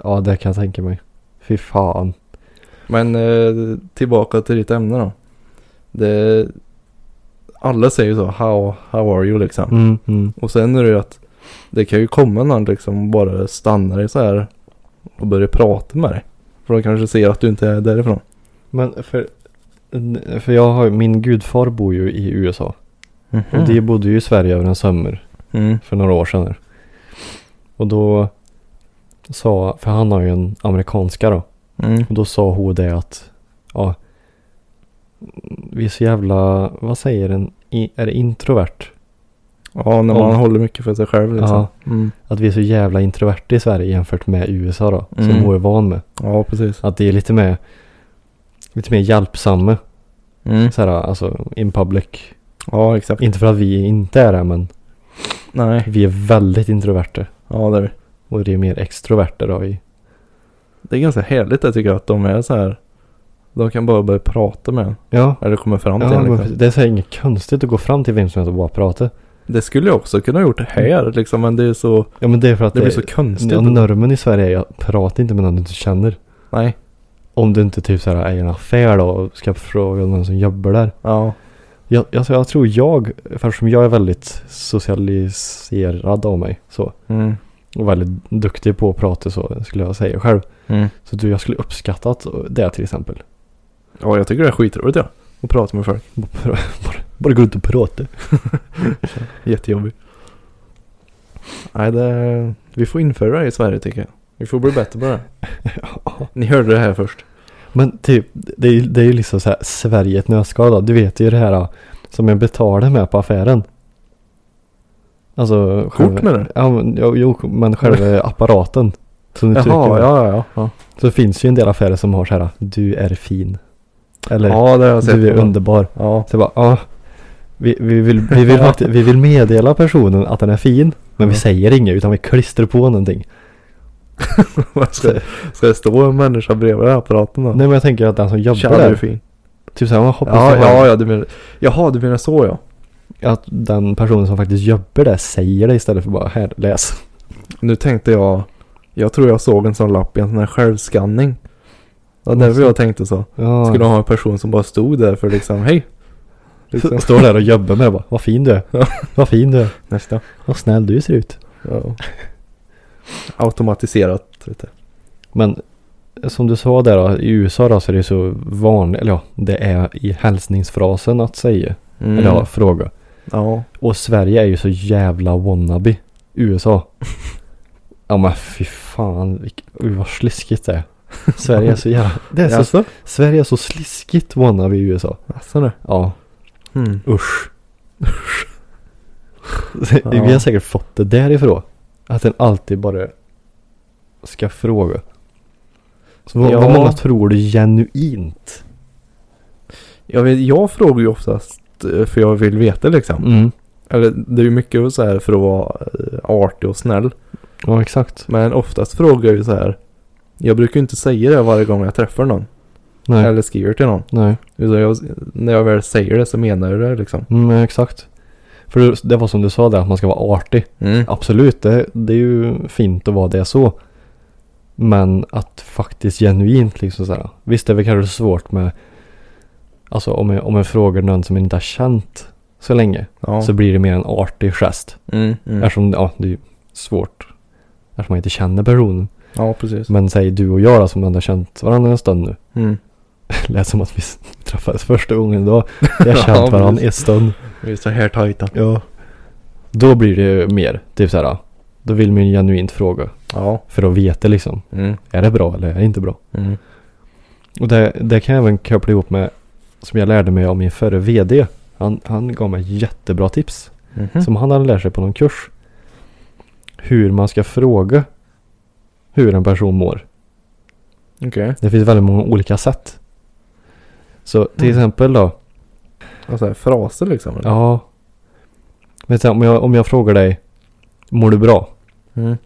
B: ja, det kan jag tänka mig. Fy fan.
C: Men eh, tillbaka till ditt ämne då. Det, alla säger ju så, how, how are you liksom.
B: Mm, mm.
C: Och sen är det ju att det kan ju komma någon liksom bara stannar dig så här och börjar prata med dig. För de kanske ser att du inte är därifrån.
B: Men för, för jag har min gudfar bor ju i USA. Mhm. Och de bodde ju i Sverige över en sommar.
C: Mm.
B: för några år sedan. här. Och då sa, för han har ju en amerikanska då.
C: Mm.
B: Och då sa hon det att, ja, vi är så jävla, vad säger en, i- är det introvert?
C: Ja, när man
B: Om-
C: håller mycket för sig själv liksom.
B: Ja.
C: Mm.
B: Att vi är så jävla introverta i Sverige jämfört med USA då, som
C: Mm.
B: hon är van med.
C: Ja, precis.
B: Att det är lite mer, lite mer hjälpsamma,
C: Mm.
B: så här, alltså in public.
C: Ja, exakt.
B: Inte för att vi inte är det, men
C: Nej.
B: vi är väldigt introverta.
C: Ja, det är det.
B: Och det är mer extroverta då i,
C: Det är ganska härligt det tycker jag att de är så här. De kan bara börja prata med en.
B: ja,
C: Eller komma fram till
B: Ja,
C: en
B: men
C: liksom.
B: precis. det är så här inget konstigt att gå fram till vem som helst och bara prata.
C: Det skulle jag också kunna ha gjort här liksom. Men det är så.
B: Ja men det är för att
C: Det blir så konstigt.
B: Ja, normen i Sverige är att prata inte med någon du inte känner.
C: Nej.
B: Om du inte typ så här är i en affär då och ska fråga någon som jobbar där.
C: Ja.
B: Jag, alltså jag tror jag, eftersom jag är väldigt socialiserad av mig så.
C: Mm.
B: Och väldigt duktig på att prata så skulle jag säga själv.
C: Mm.
B: Så du, jag skulle uppskattat det till exempel.
C: Ja, jag tycker det är skitroligt ja. Att prata med folk.
B: Bara, bara, bara gå ut och
C: [LAUGHS]
B: prata.
C: Jättejobbigt. Nej, det... Vi får införa det i Sverige tycker jag. Vi får bli bättre
B: [LAUGHS]
C: på det. Ni hörde det här först.
B: Men typ, det är ju det är ju liksom så här Sverige i ett nötskal då. Du vet ju det här som jag betalar med på affären. Alltså.
C: Kort menar du?
B: Ja, men, jo, jo, men
C: [LAUGHS]
B: själva apparaten. Som du trycker
C: Jaha,
B: på.
C: ja, ja, ja.
B: Så finns ju en del affärer som har så här. Du är fin. Eller
C: Ja, det har jag sett.
B: du är underbar.
C: Ja. [LAUGHS]
B: Så jag bara, ja. Vi, vi, vill, vi, vill fakti- vi vill meddela personen att den är fin. Men vi
C: Ja.
B: säger inget utan vi klistrar på någonting.
C: Vad ska, ska det stå en människa bredvid den här apparaten då?
B: Nej men jag tänker att den som jobbar
C: Tja, du är
B: där.
C: fin.
B: Typ såhär, man hoppas
C: Ja,
B: att han-
C: ja, ja, du menar. Jaha, du menar så ja.
B: att den personen som faktiskt jobbar där säger det istället för bara här, läs.
C: Nu tänkte jag, jag tror jag såg en sån lapp i en sån här självskanning. Ja, därför jag tänkte så.
B: Alltså. Ja.
C: Skulle ha en person som bara stod där för liksom, hej.
B: [LAUGHS]
C: Liksom.
B: Står där och jobbar med det bara, vad fin du är.
C: Ja.
B: [LAUGHS] Vad fin du är.
C: Nästa.
B: Vad snäll du ser ut.
C: Ja. [LAUGHS] Automatiserat. Vet du.
B: Men som du sa där då, i USA då så är det ju så vanligt, eller ja, det är i hälsningsfrasen att säga, eller
C: Mm.
B: ja, fråga.
C: Ja.
B: Och Sverige är ju så jävla wannabe.
C: [LAUGHS]
B: USA. ja men fy fan, vilk, oj, vad sliskigt det är. Sverige är så jävla, det är så,
C: Jaså?
B: Sverige är så sliskigt wannabe i USA.
C: Jaså nu?
B: Ja. Hmm.
C: Mm.
B: Usch.
C: Ja.
B: Vi har säkert fått det därifrån. Att den alltid bara ska fråga. Så vad,
C: Ja.
B: vad många tror du genuint?
C: Jag, vet, jag frågar ju oftast eh, för jag vill veta liksom.
B: Mm.
C: Eller det är ju mycket så här för att vara eh, artig och snäll.
B: Ja exakt.
C: Typ. Men oftast frågar jag ju så här. Jag brukar ju inte säga det varje gång jag träffar någon.
B: Nej.
C: Eller skriver till någon.
B: Nej.
C: Utan jag, när jag väl säger det så menar jag det liksom.
B: Mm, nej, exakt. För det- det var som du sa där att man ska vara artig.
C: Mm.
B: Absolut, det, det är ju fint att vara det så. Men att faktiskt genuint liksom såhär. Visst är det kanske svårt med Alltså om jag, om jag frågar någon som jag inte har känt så länge.
C: Ja.
B: Så blir det mer en artig gest.
C: Mm, mm.
B: Eftersom ja, det är ju svårt. Eftersom man inte känner personen.
C: ja, precis.
B: Men säg du och jag då som ändå har känt varandra en stund nu. [LAUGHS]
C: Mm.
B: Lät som att vi s- träffades första gången då. Vi har känt
C: [LAUGHS] Ja,
B: varandra
C: precis.
B: en stund.
C: Vi är så här tajta.
B: Ja. Då blir det ju mer typ så här. ja, Då vill man ju genuint fråga.
C: Ja.
B: För att veta liksom.
C: Mm.
B: Är det bra eller är det inte bra?
C: Mm.
B: Och det, det kan jag även koppla ihop med som jag lärde mig av min förre VD. Han, han gav mig jättebra tips
C: Mhm.
B: som han hade lärt sig på någon kurs. Hur man ska fråga hur en person mår.
C: Okej.
B: Det finns väldigt många olika sätt. Så till
C: Mm.
B: exempel då.
C: Och så här fraser liksom. eller?
B: Ja. Men sen om jag, om jag frågar dig. Mår du bra?
C: Mm.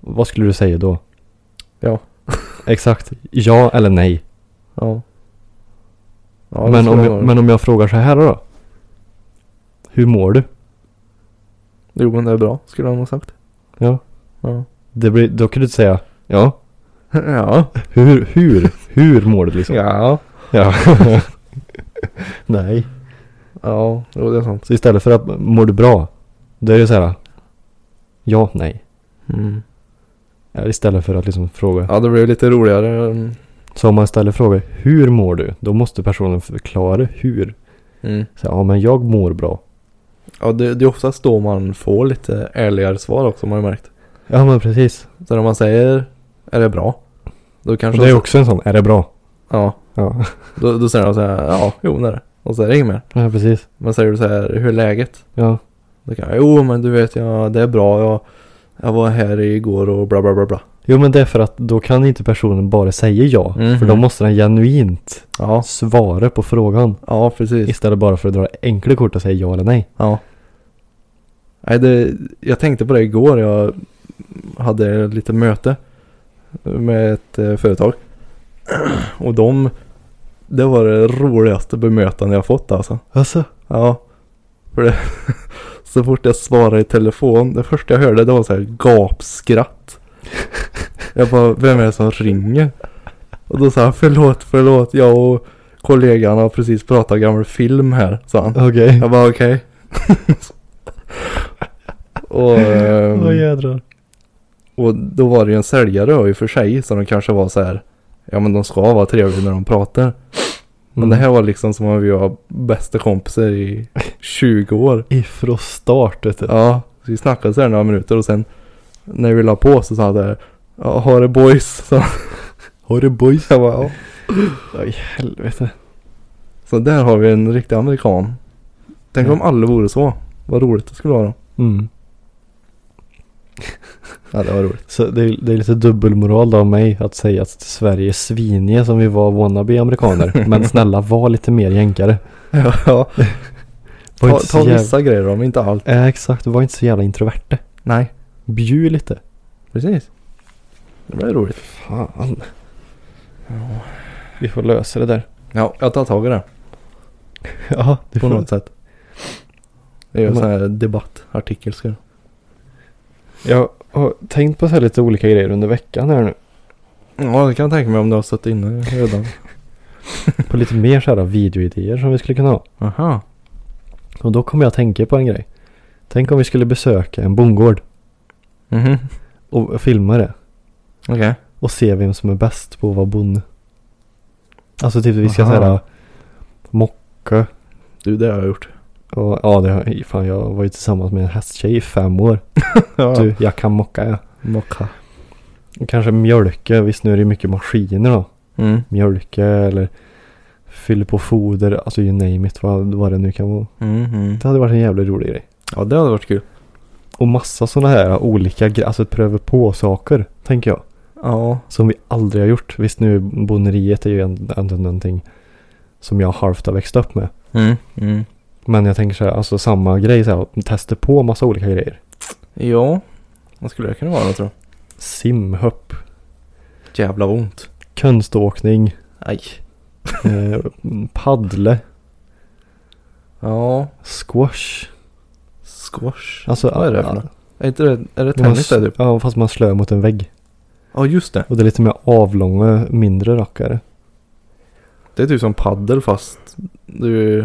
B: Vad skulle du säga då?
C: Ja.
B: Exakt. Ja eller nej.
C: Ja. ja det
B: men,
C: ska
B: om
C: det
B: jag,
C: vara.
B: men om jag frågar så här då? Hur mår du?
C: Jo, men det är bra skulle han ha sagt. [LAUGHS]
B: Ja.
C: Ja.
B: Det blir, då kan du inte säga ja.
C: Ja.
B: Hur, hur, hur mår du liksom?
C: Ja.
B: Ja. [LAUGHS] Nej.
C: Ja, jo, det är sant.
B: Så istället för att mår du bra? Då är det så här. Ja, nej.
C: Mm.
B: Ja, Istället för att liksom fråga.
C: Ja, det blev lite roligare. mm.
B: Så om man ställer frågan hur mår du? Då måste personen förklara hur.
C: Mm.
B: Så, här, ja men jag mår bra.
C: Ja, det, det är oftast då man får lite ärligare svar också, har man ju märkt.
B: Ja men precis.
C: Så när man säger är det bra? Då
B: Och
C: kanske
B: det är
C: de-
B: också en sån, är det bra?
C: Ja,
B: Ja,
C: då, då säger de så här, ja, jo, det är det. Och så är det inget mer.
B: ja precis.
C: Men säger du så här, hur är läget?
B: Ja.
C: Då kan jag, jo, men du vet, ja, det är bra. Jag, jag var här igår och bla, bla, bla, bla.
B: Jo men det är för att då kan inte personen bara säga ja.
C: Mhm.
B: För då måste den genuint
C: Ja,
B: svara på frågan.
C: ja, precis.
B: Istället bara för att dra det enkla kortet och säga ja eller nej.
C: Ja. Nej, det, jag tänkte på det igår. Jag hade lite möte med ett eh, företag. Och de, det var det roligaste bemötande jag fått alltså.
B: Alltså?
C: Ja. För det, [LAUGHS] så fort jag svarade i telefon, det första jag hörde det var så här gapskratt. Jag bara, vem är det som ringer? Och då sa han förlåt, förlåt. Jag och kollegan har precis pratat gammal film här, sa han.
B: Okej.
C: Jag bara okej. [LAUGHS] och, ehm,
B: Åh jädrar.
C: och då var det ju en säljare då i och för sig. Så de kanske var så här. Ja men de ska vara trevliga när de pratar. Men det här var liksom som om vi var bästa kompisar [LAUGHS] i 20 år.
B: Ifrån start vet du.
C: Ja, så vi snackade så här några minuter och sen när vi la på så sa han där. Ja, ha det boys. [LAUGHS] Så,
B: Har du boys?
C: jag bara, ja.
B: Oj helvete.
C: så där har vi en riktig amerikan. Tänk om alla vore så. Vad roligt det skulle vara.
B: Mm.
C: Ja det var roligt.
B: Så det är, det är lite dubbelmoral då av mig att säga att Sverige är sviniga som vi var wannabe [LAUGHS] amerikaner. Men snälla var lite mer jänkare.
C: [LAUGHS] Ja,
B: Var
C: ta,
B: inte så
C: ta
B: jävla...
C: vissa grejer om inte allt.
B: Eh, exakt, var inte så jävla introverte.
C: Nej,
B: Bjud lite.
C: precis. Det blir roligt.
B: Fan. Vi får lösa det där.
C: Ja, jag tar tag i det.
B: [LAUGHS] Ja, det
C: På
B: får
C: något sätt. Det är ju en
B: Men-
C: sån här debattartikel ska jag-
B: Jag har tänkt på så här lite olika grejer under veckan [LAUGHS] här nu.
C: Ja, det kan jag tänka mig om du har suttit inne redan.
B: På lite mer så här videoidéer som vi skulle kunna ha.
C: Aha.
B: Och då kommer jag att tänka på en grej. Tänk om vi skulle besöka en bondgård
C: Mhm.
B: och filma det.
C: Okej.
B: Och se vem som är bäst på att vara bonde. Alltså typ vi ska
C: Aha.
B: säga mocka.
C: Du, det har jag gjort.
B: Och, ja, det har, fan jag var ju tillsammans med en hästtjej i fem år.
C: Du.
B: Du, jag kan mocka jag.
C: Mocka.
B: Och Kanske mjölka, visst nu är det ju mycket maskiner då.
C: Mm.
B: Mjölka eller fylla på foder, alltså you name it vad, vad det nu kan vara.
C: Mhm.
B: Det hade varit en jävligt rolig grej.
C: Ja, det hade varit kul.
B: Och massa sådana här olika grejer, alltså pröva på saker, tänker jag.
C: Ja.
B: Som vi aldrig har gjort. Visst nu bonderiet är ju änd- ändå någonting som jag halvt har växt upp med.
C: Mm. Mm.
B: Men jag tänker så här, alltså samma grej så här, testa på massa olika grejer.
C: Ja. Vad skulle det kunna vara då, tror jag?
B: Simhopp,
C: Jävla ont. [LAUGHS]
B: konståkning,
C: Aj.
B: eh, paddle,
C: Ja.
B: squash.
C: Squash.
B: Alltså,
C: Vad är det för något? Är, inte det, är det tennis
B: man,
C: det typ?
B: Ja, fast man slår mot en vägg.
C: Ja, just det.
B: Och det är lite mer avlånga, mindre rackare.
C: Det är typ som paddel fast du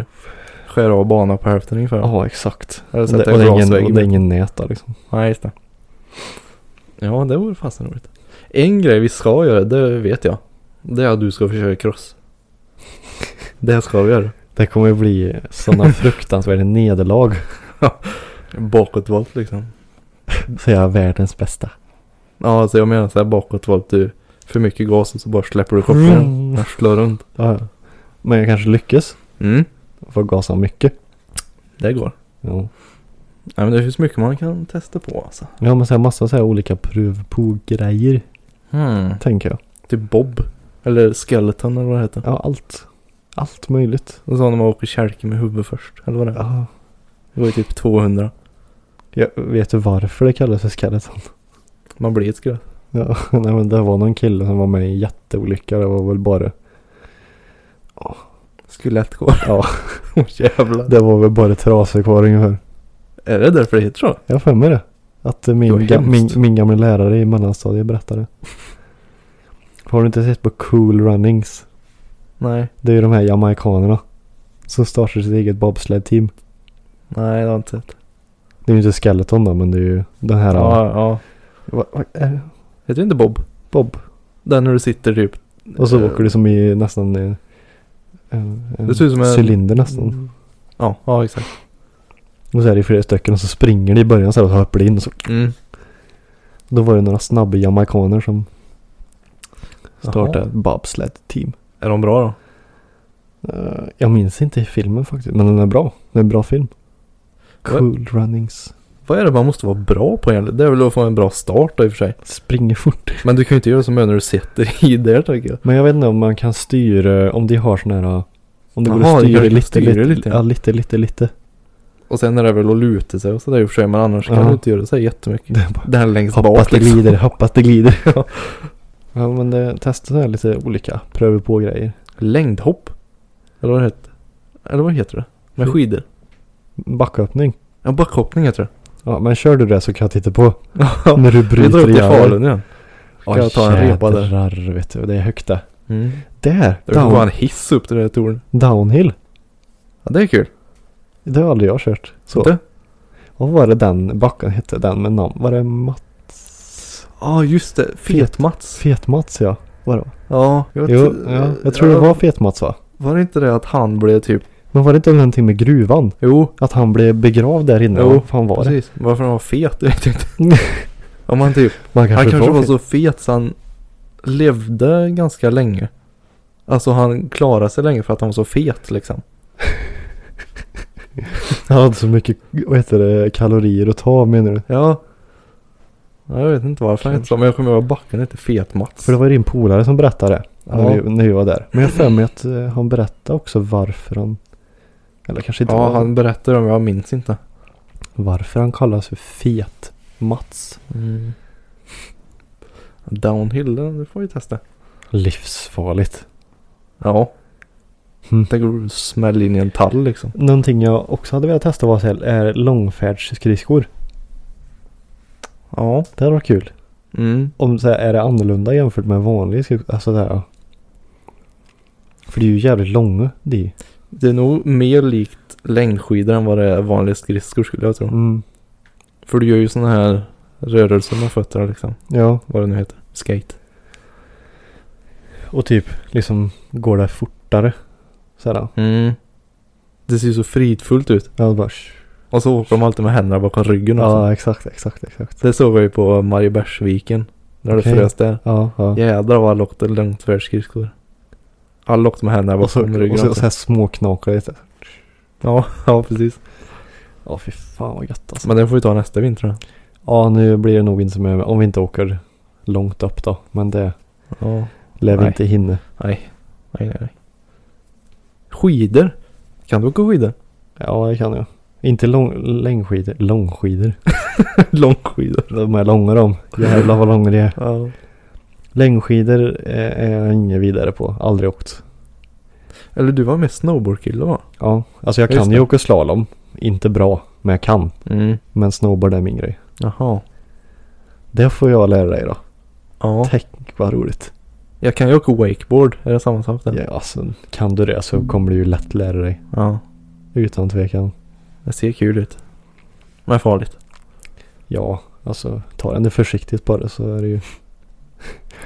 C: skär av banan på hälften ungefär.
B: Ja, exakt.
C: Eller
B: Och
C: sätter
B: det,
C: en
B: och, det är
C: glasvägg
B: ingen, och det är
C: med.
B: ingen nät där liksom.
C: Nej, just det. Ja, det vore fasen roligt. En grej vi ska göra, det vet jag. Det är att du ska försöka cross. Det ska vi göra.
B: Det kommer ju bli sådana fruktansvärda nederlag.
C: Bakåtvolt liksom.
B: Så jag är världens bästa.
C: Ja, alltså jag menar så här bakåtvolt. Du för mycket gas och så bara släpper du kopplingen. Den slår runt.
B: Ja, ja. Men jag kanske lyckas.
C: Mm,
B: Får gasa mycket.
C: det går.
B: Ja.
C: Nej men det finns mycket man kan testa på alltså.
B: Ja men så här massa så här olika provpogrejer.
C: Hmm.
B: Tänker jag.
C: Typ bob. Eller skeleton eller vad det heter.
B: Ja allt. Allt möjligt.
C: Och så när man åker kälke med huvudet först. Eller vad det är.
B: Ja.
C: Det var ju typ 200.
B: Jag vet du varför det kallas för skeleton?
C: Man blir ett skelett.
B: Ja, nej men det var någon kille som var med i en jätteolycka. Det var väl bara.
C: Skelettkår.
B: Ja.
C: [LAUGHS] Åh jävlar.
B: Det var väl bara trasor kvar ungefär.
C: Är det därför det heter så?
B: Jag har för mig det. Att eh, min,
C: Det var
B: ga- min,
C: hemskt.
B: min gamla lärare i mellanstadiet berättade. Har du inte sett på Cool Runnings?
C: Nej.
B: Det är ju de här jamaikanerna. Som startar sitt eget bobsled-team.
C: Nej, det har jag inte sett.
B: Det är ju inte Skeleton då men det är ju den här.
C: Ja, ja.
B: Va, va, eh,
C: Heter det inte Bob?
B: bob.
C: Där när du sitter typ.
B: Och så
C: eh,
B: åker du som i nästan eh, en, en
C: Det ser ut som en-
B: cylinder nästan.
C: Mm. Ja, ja exakt.
B: Och så är det flera stycken och så springer det i början så här och hoppar in. Och så,
C: Mm.
B: då var det några snabba jamaikaner som startade
C: Jaha.
B: ett bobsled-team.
C: Är de bra då?
B: Eh, jag minns inte i filmen faktiskt men den är bra. Det är en bra film. Cool runnings.
C: Vad är det man måste vara bra på egentligen? Det är väl att få en bra start då i och för sig.
B: Springer fort.
C: Men du kan ju inte göra som när du sitter i där tycker jag.
B: Men jag vet inte om man kan styra, om de har sådana här eh, om det går
C: Jaha,
B: att
C: det
B: styra
C: kanske kan
B: lite,
C: styra
B: lite,
C: lite, ja.
B: Ja, lite, lite, lite.
C: Och sen är det väl att luta sig och sådär i och för sig. Men annars kan
B: Ja.
C: du inte göra så här jättemycket.
B: Det är bara-
C: Den längst
B: Hoppas
C: bak
B: det
C: liksom.
B: glider, hoppas det
C: [LAUGHS]
B: glider. ja. ja men det, testa så här lite olika, pröva på grejer.
C: Längdhopp. Eller vad det heter. Eller vad heter det? Med
B: Skid-
C: skidor.
B: Backhoppning.
C: Ja, backhoppning heter det. Mm.
B: Ja men kör du det så kan jag titta på.
C: [LAUGHS] Ja,
B: När du
C: vi drar
B: bryter
C: upp till
B: ihjäl dig.
C: Falun igen. Ska jag ta en repa där?
B: jädrar, vet du, det är högt det.
C: Mm.
B: Där!
C: Det var bara en
B: Down,
C: hiss upp till det där tornet.
B: downhill.
C: Ja, det är kul.
B: Det har aldrig jag kört. Så.
C: Inte?
B: Vad var det den backen hette? Den med namn? Var det Mats?
C: Ja, just det. Fet-Mats.
B: Fet-Mats ja. Var det?
C: Ja, jag,
B: Jo,
C: tr-
B: ja. Jag tror det var Fet-Mats va?
C: Var det inte det att han blev typ...
B: Men var det inte någonting med gruvan?
C: Jo,
B: Att han blev begravd där inne?
C: Jo,
B: Vad fan var det?
C: precis. Varför han var fet, jag
B: [LAUGHS]
C: vet inte. Om han typ...
B: Man kanske,
C: han kanske var
B: fet.
C: så fet så han levde ganska länge. Alltså han klarade sig länge för att han var så fet liksom.
B: Han hade så mycket, vad heter det, kalorier att ta menar du?
C: Ja. ja jag vet inte varför han hette så, men jag kommer ihåg att backen hette Fet-Mats.
B: För det var ju din polare som berättade det. När,
C: Ja.
B: vi, när vi var där. Men jag har för mig att eh, han berättade också varför han... Eller kanske inte
C: Ja,
B: var,
C: han berättade om, jag minns inte.
B: varför han kallas för Fet-Mats.
C: Mm. Downhill, det får vi testa.
B: Livsfarligt.
C: Ja.
B: Mm.
C: Tänk om du smäller in i en tall liksom.
B: Någonting jag också hade velat testa var så här, är långfärdsskridskor.
C: Ja.
B: Det hade varit kul.
C: Mm.
B: Om så här, är det annorlunda jämfört med en vanlig skridsko. Alltså där. ja. För det är ju jävligt långa de.
C: Det är nog mer likt längdskidor än vad det är vanliga skridskor skulle jag tro.
B: Mm.
C: För du gör ju sådana här rörelser med fötterna liksom.
B: Ja.
C: Vad det nu heter. Skate.
B: Och typ liksom går det fortare. Sådär.
C: Mm. Det ser ju så fridfullt ut.
B: Ja, bara,
C: Och så åker de alltid med händerna bakom ryggen alltså. också.
B: ja exakt, exakt, exakt.
C: Det såg jag ju på Mariebergsviken. När
B: Okej.
C: det frös där.
B: Ja, ja.
C: Jädrar vad alla åkte långfärdsskridskor. Alla åkte med händerna
B: Och så,
C: bakom ryggen.
B: och så,
C: också.
B: så här småknakar lite.
C: Ja, [LAUGHS] ja precis.
B: Ja, fy fan vad gött alltså.
C: Men den får vi ta nästa vinter då.
B: Ja, nu blir det nog inte så mycket om vi inte åker långt upp då. Men det
C: Ja.
B: lär vi
C: Nej.
B: inte hinna.
C: Nej. Nej, nej, nej. Skidor. Kan du åka
B: [LAUGHS]
C: skidor?
B: Ja, det kan jag. Inte lång, längdskidor, långskidor.
C: Långskidor.
B: De är långa de. Jävlar vad långa de är.
C: Ja.
B: Längdskidor är, är jag ingen vidare på. Aldrig åkt.
C: Eller du var med snowboardkille va?
B: Ja, alltså jag
C: Just
B: kan ju
C: det.
B: åka slalom. Inte bra, men jag kan.
C: Mm.
B: Men snowboard är min grej.
C: Jaha.
B: Det får jag lära dig då.
C: Ja.
B: Tänk vad roligt.
C: Jag kan ju åka wakeboard. Är det samma sak där?
B: Ja, alltså, kan du det så kommer du ju lätt lära dig.
C: Ja.
B: Utan tvekan.
C: Det ser kul ut.
B: [LAUGHS]
C: Men farligt.
B: Ja, alltså ta den det försiktigt bara så är det ju.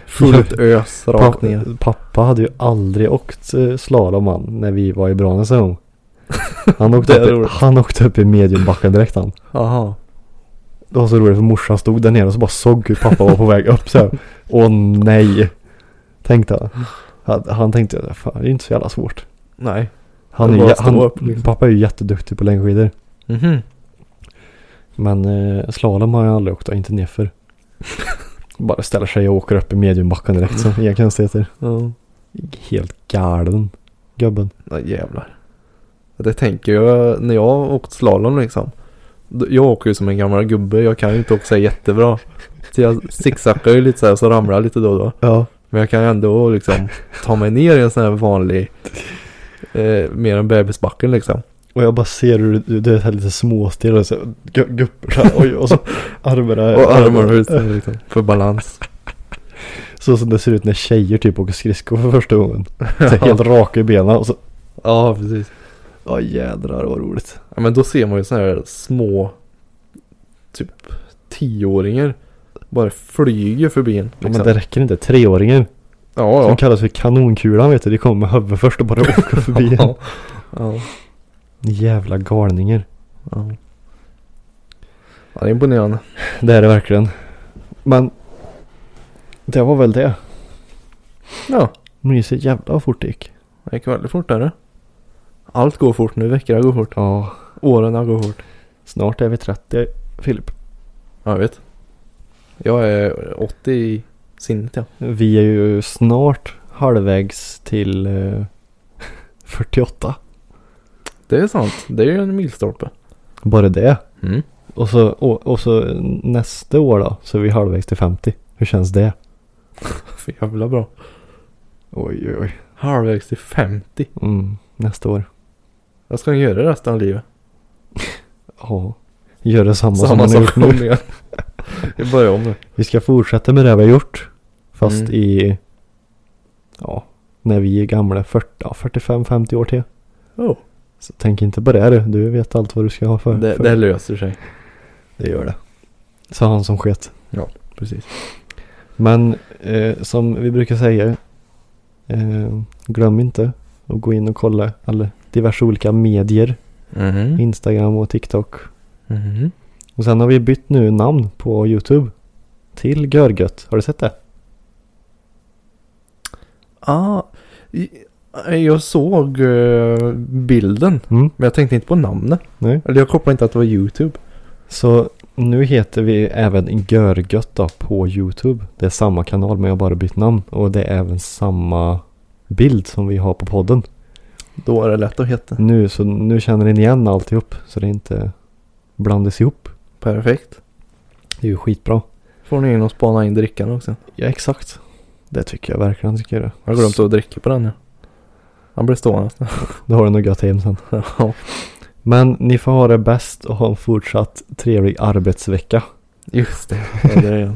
C: Fullt ös rakt
B: Pa-
C: ner.
B: Pappa hade ju aldrig åkt eh, slalom han när vi var i Branäs en
C: [LAUGHS]
B: gång. Han
C: Det
B: åkte,
C: är
B: upp, i-
C: roligt.
B: han åkte upp i mediumbacken direkt han.
C: Jaha.
B: Det var så roligt för morsan stod där nere och så bara såg hur pappa var på väg upp så här. Åh nej. Tänkte han. han. Han tänkte, fan det är inte så jävla svårt.
C: Nej.
B: Han
C: Det
B: är
C: var
B: ju,
C: att stå
B: han,
C: upp, liksom.
B: Pappa är ju jätteduktig på längdskidor.
C: Mhm.
B: Men eh, slalom har jag aldrig åkt och inte
C: [LAUGHS]
B: nerför. Bara ställer sig och åker upp i mediumbacken direkt så. Inga konstigheter.
C: Ja.
B: Helt galen. Gubben.
C: Ja jävlar. Det tänker jag när jag har åkt slalom liksom. Då- Jag åker ju som en gammal gubbe. Jag kan ju inte åka så här jättebra. Så jag zigzaggar ju lite så här och så ramlar jag lite då och då.
B: Ja.
C: Men jag kan ju ändå liksom ta mig ner i en sån här vanlig, eh, mer en bebisbacken liksom.
B: Och jag bara ser hur du, du är så här lite småstel och så gu- guppar så här, oj,
C: [LAUGHS]
B: och så armarna.
C: Och armarna ut så här, liksom, för balans.
B: Så som det ser ut när tjejer typ åker skridskor för första gången. Så här, helt raka i benen och så.
C: Ja, precis.
B: Ja jädrar vad roligt.
C: Ja, men då ser man ju såna här små, typ tioåringar. Bara flyger förbi en.
B: Ja,
C: Liksom.
B: men det räcker inte. Treåringen
C: ja,
B: som
C: ja.
B: kallas för kanonkulan vet du. De kommer med huvudet först och bara åker förbi en.
C: [LAUGHS] ja. ja.
B: Jävla galningar.
C: Ja. Ja, det är imponerande.
B: Det är det verkligen. Men det var väl det.
C: Ja,
B: Mysigt jävla vad fort det gick.
C: det gick väldigt fort där. Allt går fort nu, veckorna går fort,
B: Ja,
C: åren går fort.
B: snart är vi 30 Filip.
C: Ja, jag vet. Jag är 80 i sinnet ja.
B: Vi är ju snart halvvägs till eh, [LAUGHS] 48.
C: Det är sant, det är ju en milstolpe.
B: Bara det.
C: Mm.
B: Och så, och, och så nästa år då så är vi halvvägs till 50. Hur känns det?
C: [LAUGHS] För jävla bra.
B: Oj oj oj.
C: Halvvägs till 50.
B: Mm, nästa år.
C: Vad ska han göra resten av livet?
B: Ja. Gör detsamma som
C: Samma
B: man har gjort
C: sak om
B: nu.
C: igen. [LAUGHS] Vi börjar om nu.
B: Vi ska fortsätta med det vi har gjort. Fast
C: Mm.
B: i ja, när vi är gamla 45-50 år till.
C: Oh,
B: Så tänk inte på det här, du vet allt vad du ska ha för.
C: det,
B: för.
C: det löser sig.
B: det gör det. Sa han som sket.
C: Precis.
B: Men eh, som vi brukar säga, eh, glöm inte att gå in och kolla alla diverse olika medier.
C: Mhm.
B: Instagram och TikTok.
C: Mhm.
B: Och sen har vi bytt nu namn på YouTube. Till Görgött. Har du sett det?
C: Ah, i- jag såg eh, bilden.
B: Mm.
C: Men jag tänkte inte på namnet.
B: Nej.
C: Eller jag kopplade inte att det var YouTube.
B: Så nu heter vi även Görgött då på YouTube. Det är samma kanal men jag har bara bytt namn. Och det är även samma bild som vi har på podden.
C: Då är det lätt att heta.
B: Nu, så nu känner ni igen alltihop. Så det inte blandas ihop.
C: Perfekt.
B: Det är ju skitbra.
C: Får ni in och spana in drickan också.
B: Ja exakt. Det tycker jag verkligen tycker jag.
C: Jag har glömt att dricka på den ja. Han blir stående.
B: Då har du nog gött hem sen.
C: [LAUGHS] Ja.
B: Men ni får ha det bäst och ha en fortsatt trevlig arbetsvecka.
C: Just det. Ja, det, är det.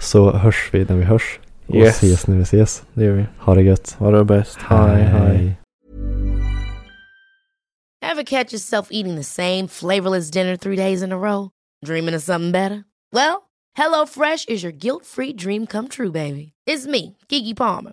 B: Så hörs vi när vi hörs. Och
C: Yes.
B: ses när vi ses.
C: det gör vi.
B: Ha det gött.
C: Ha det bäst. Hej hej.
D: Ever catch yourself eating the same flavorless dinner three days in a row? Dreaming of something better? Well, HelloFresh is your guilt free dream come true, baby. It's me, Gigi Palmer.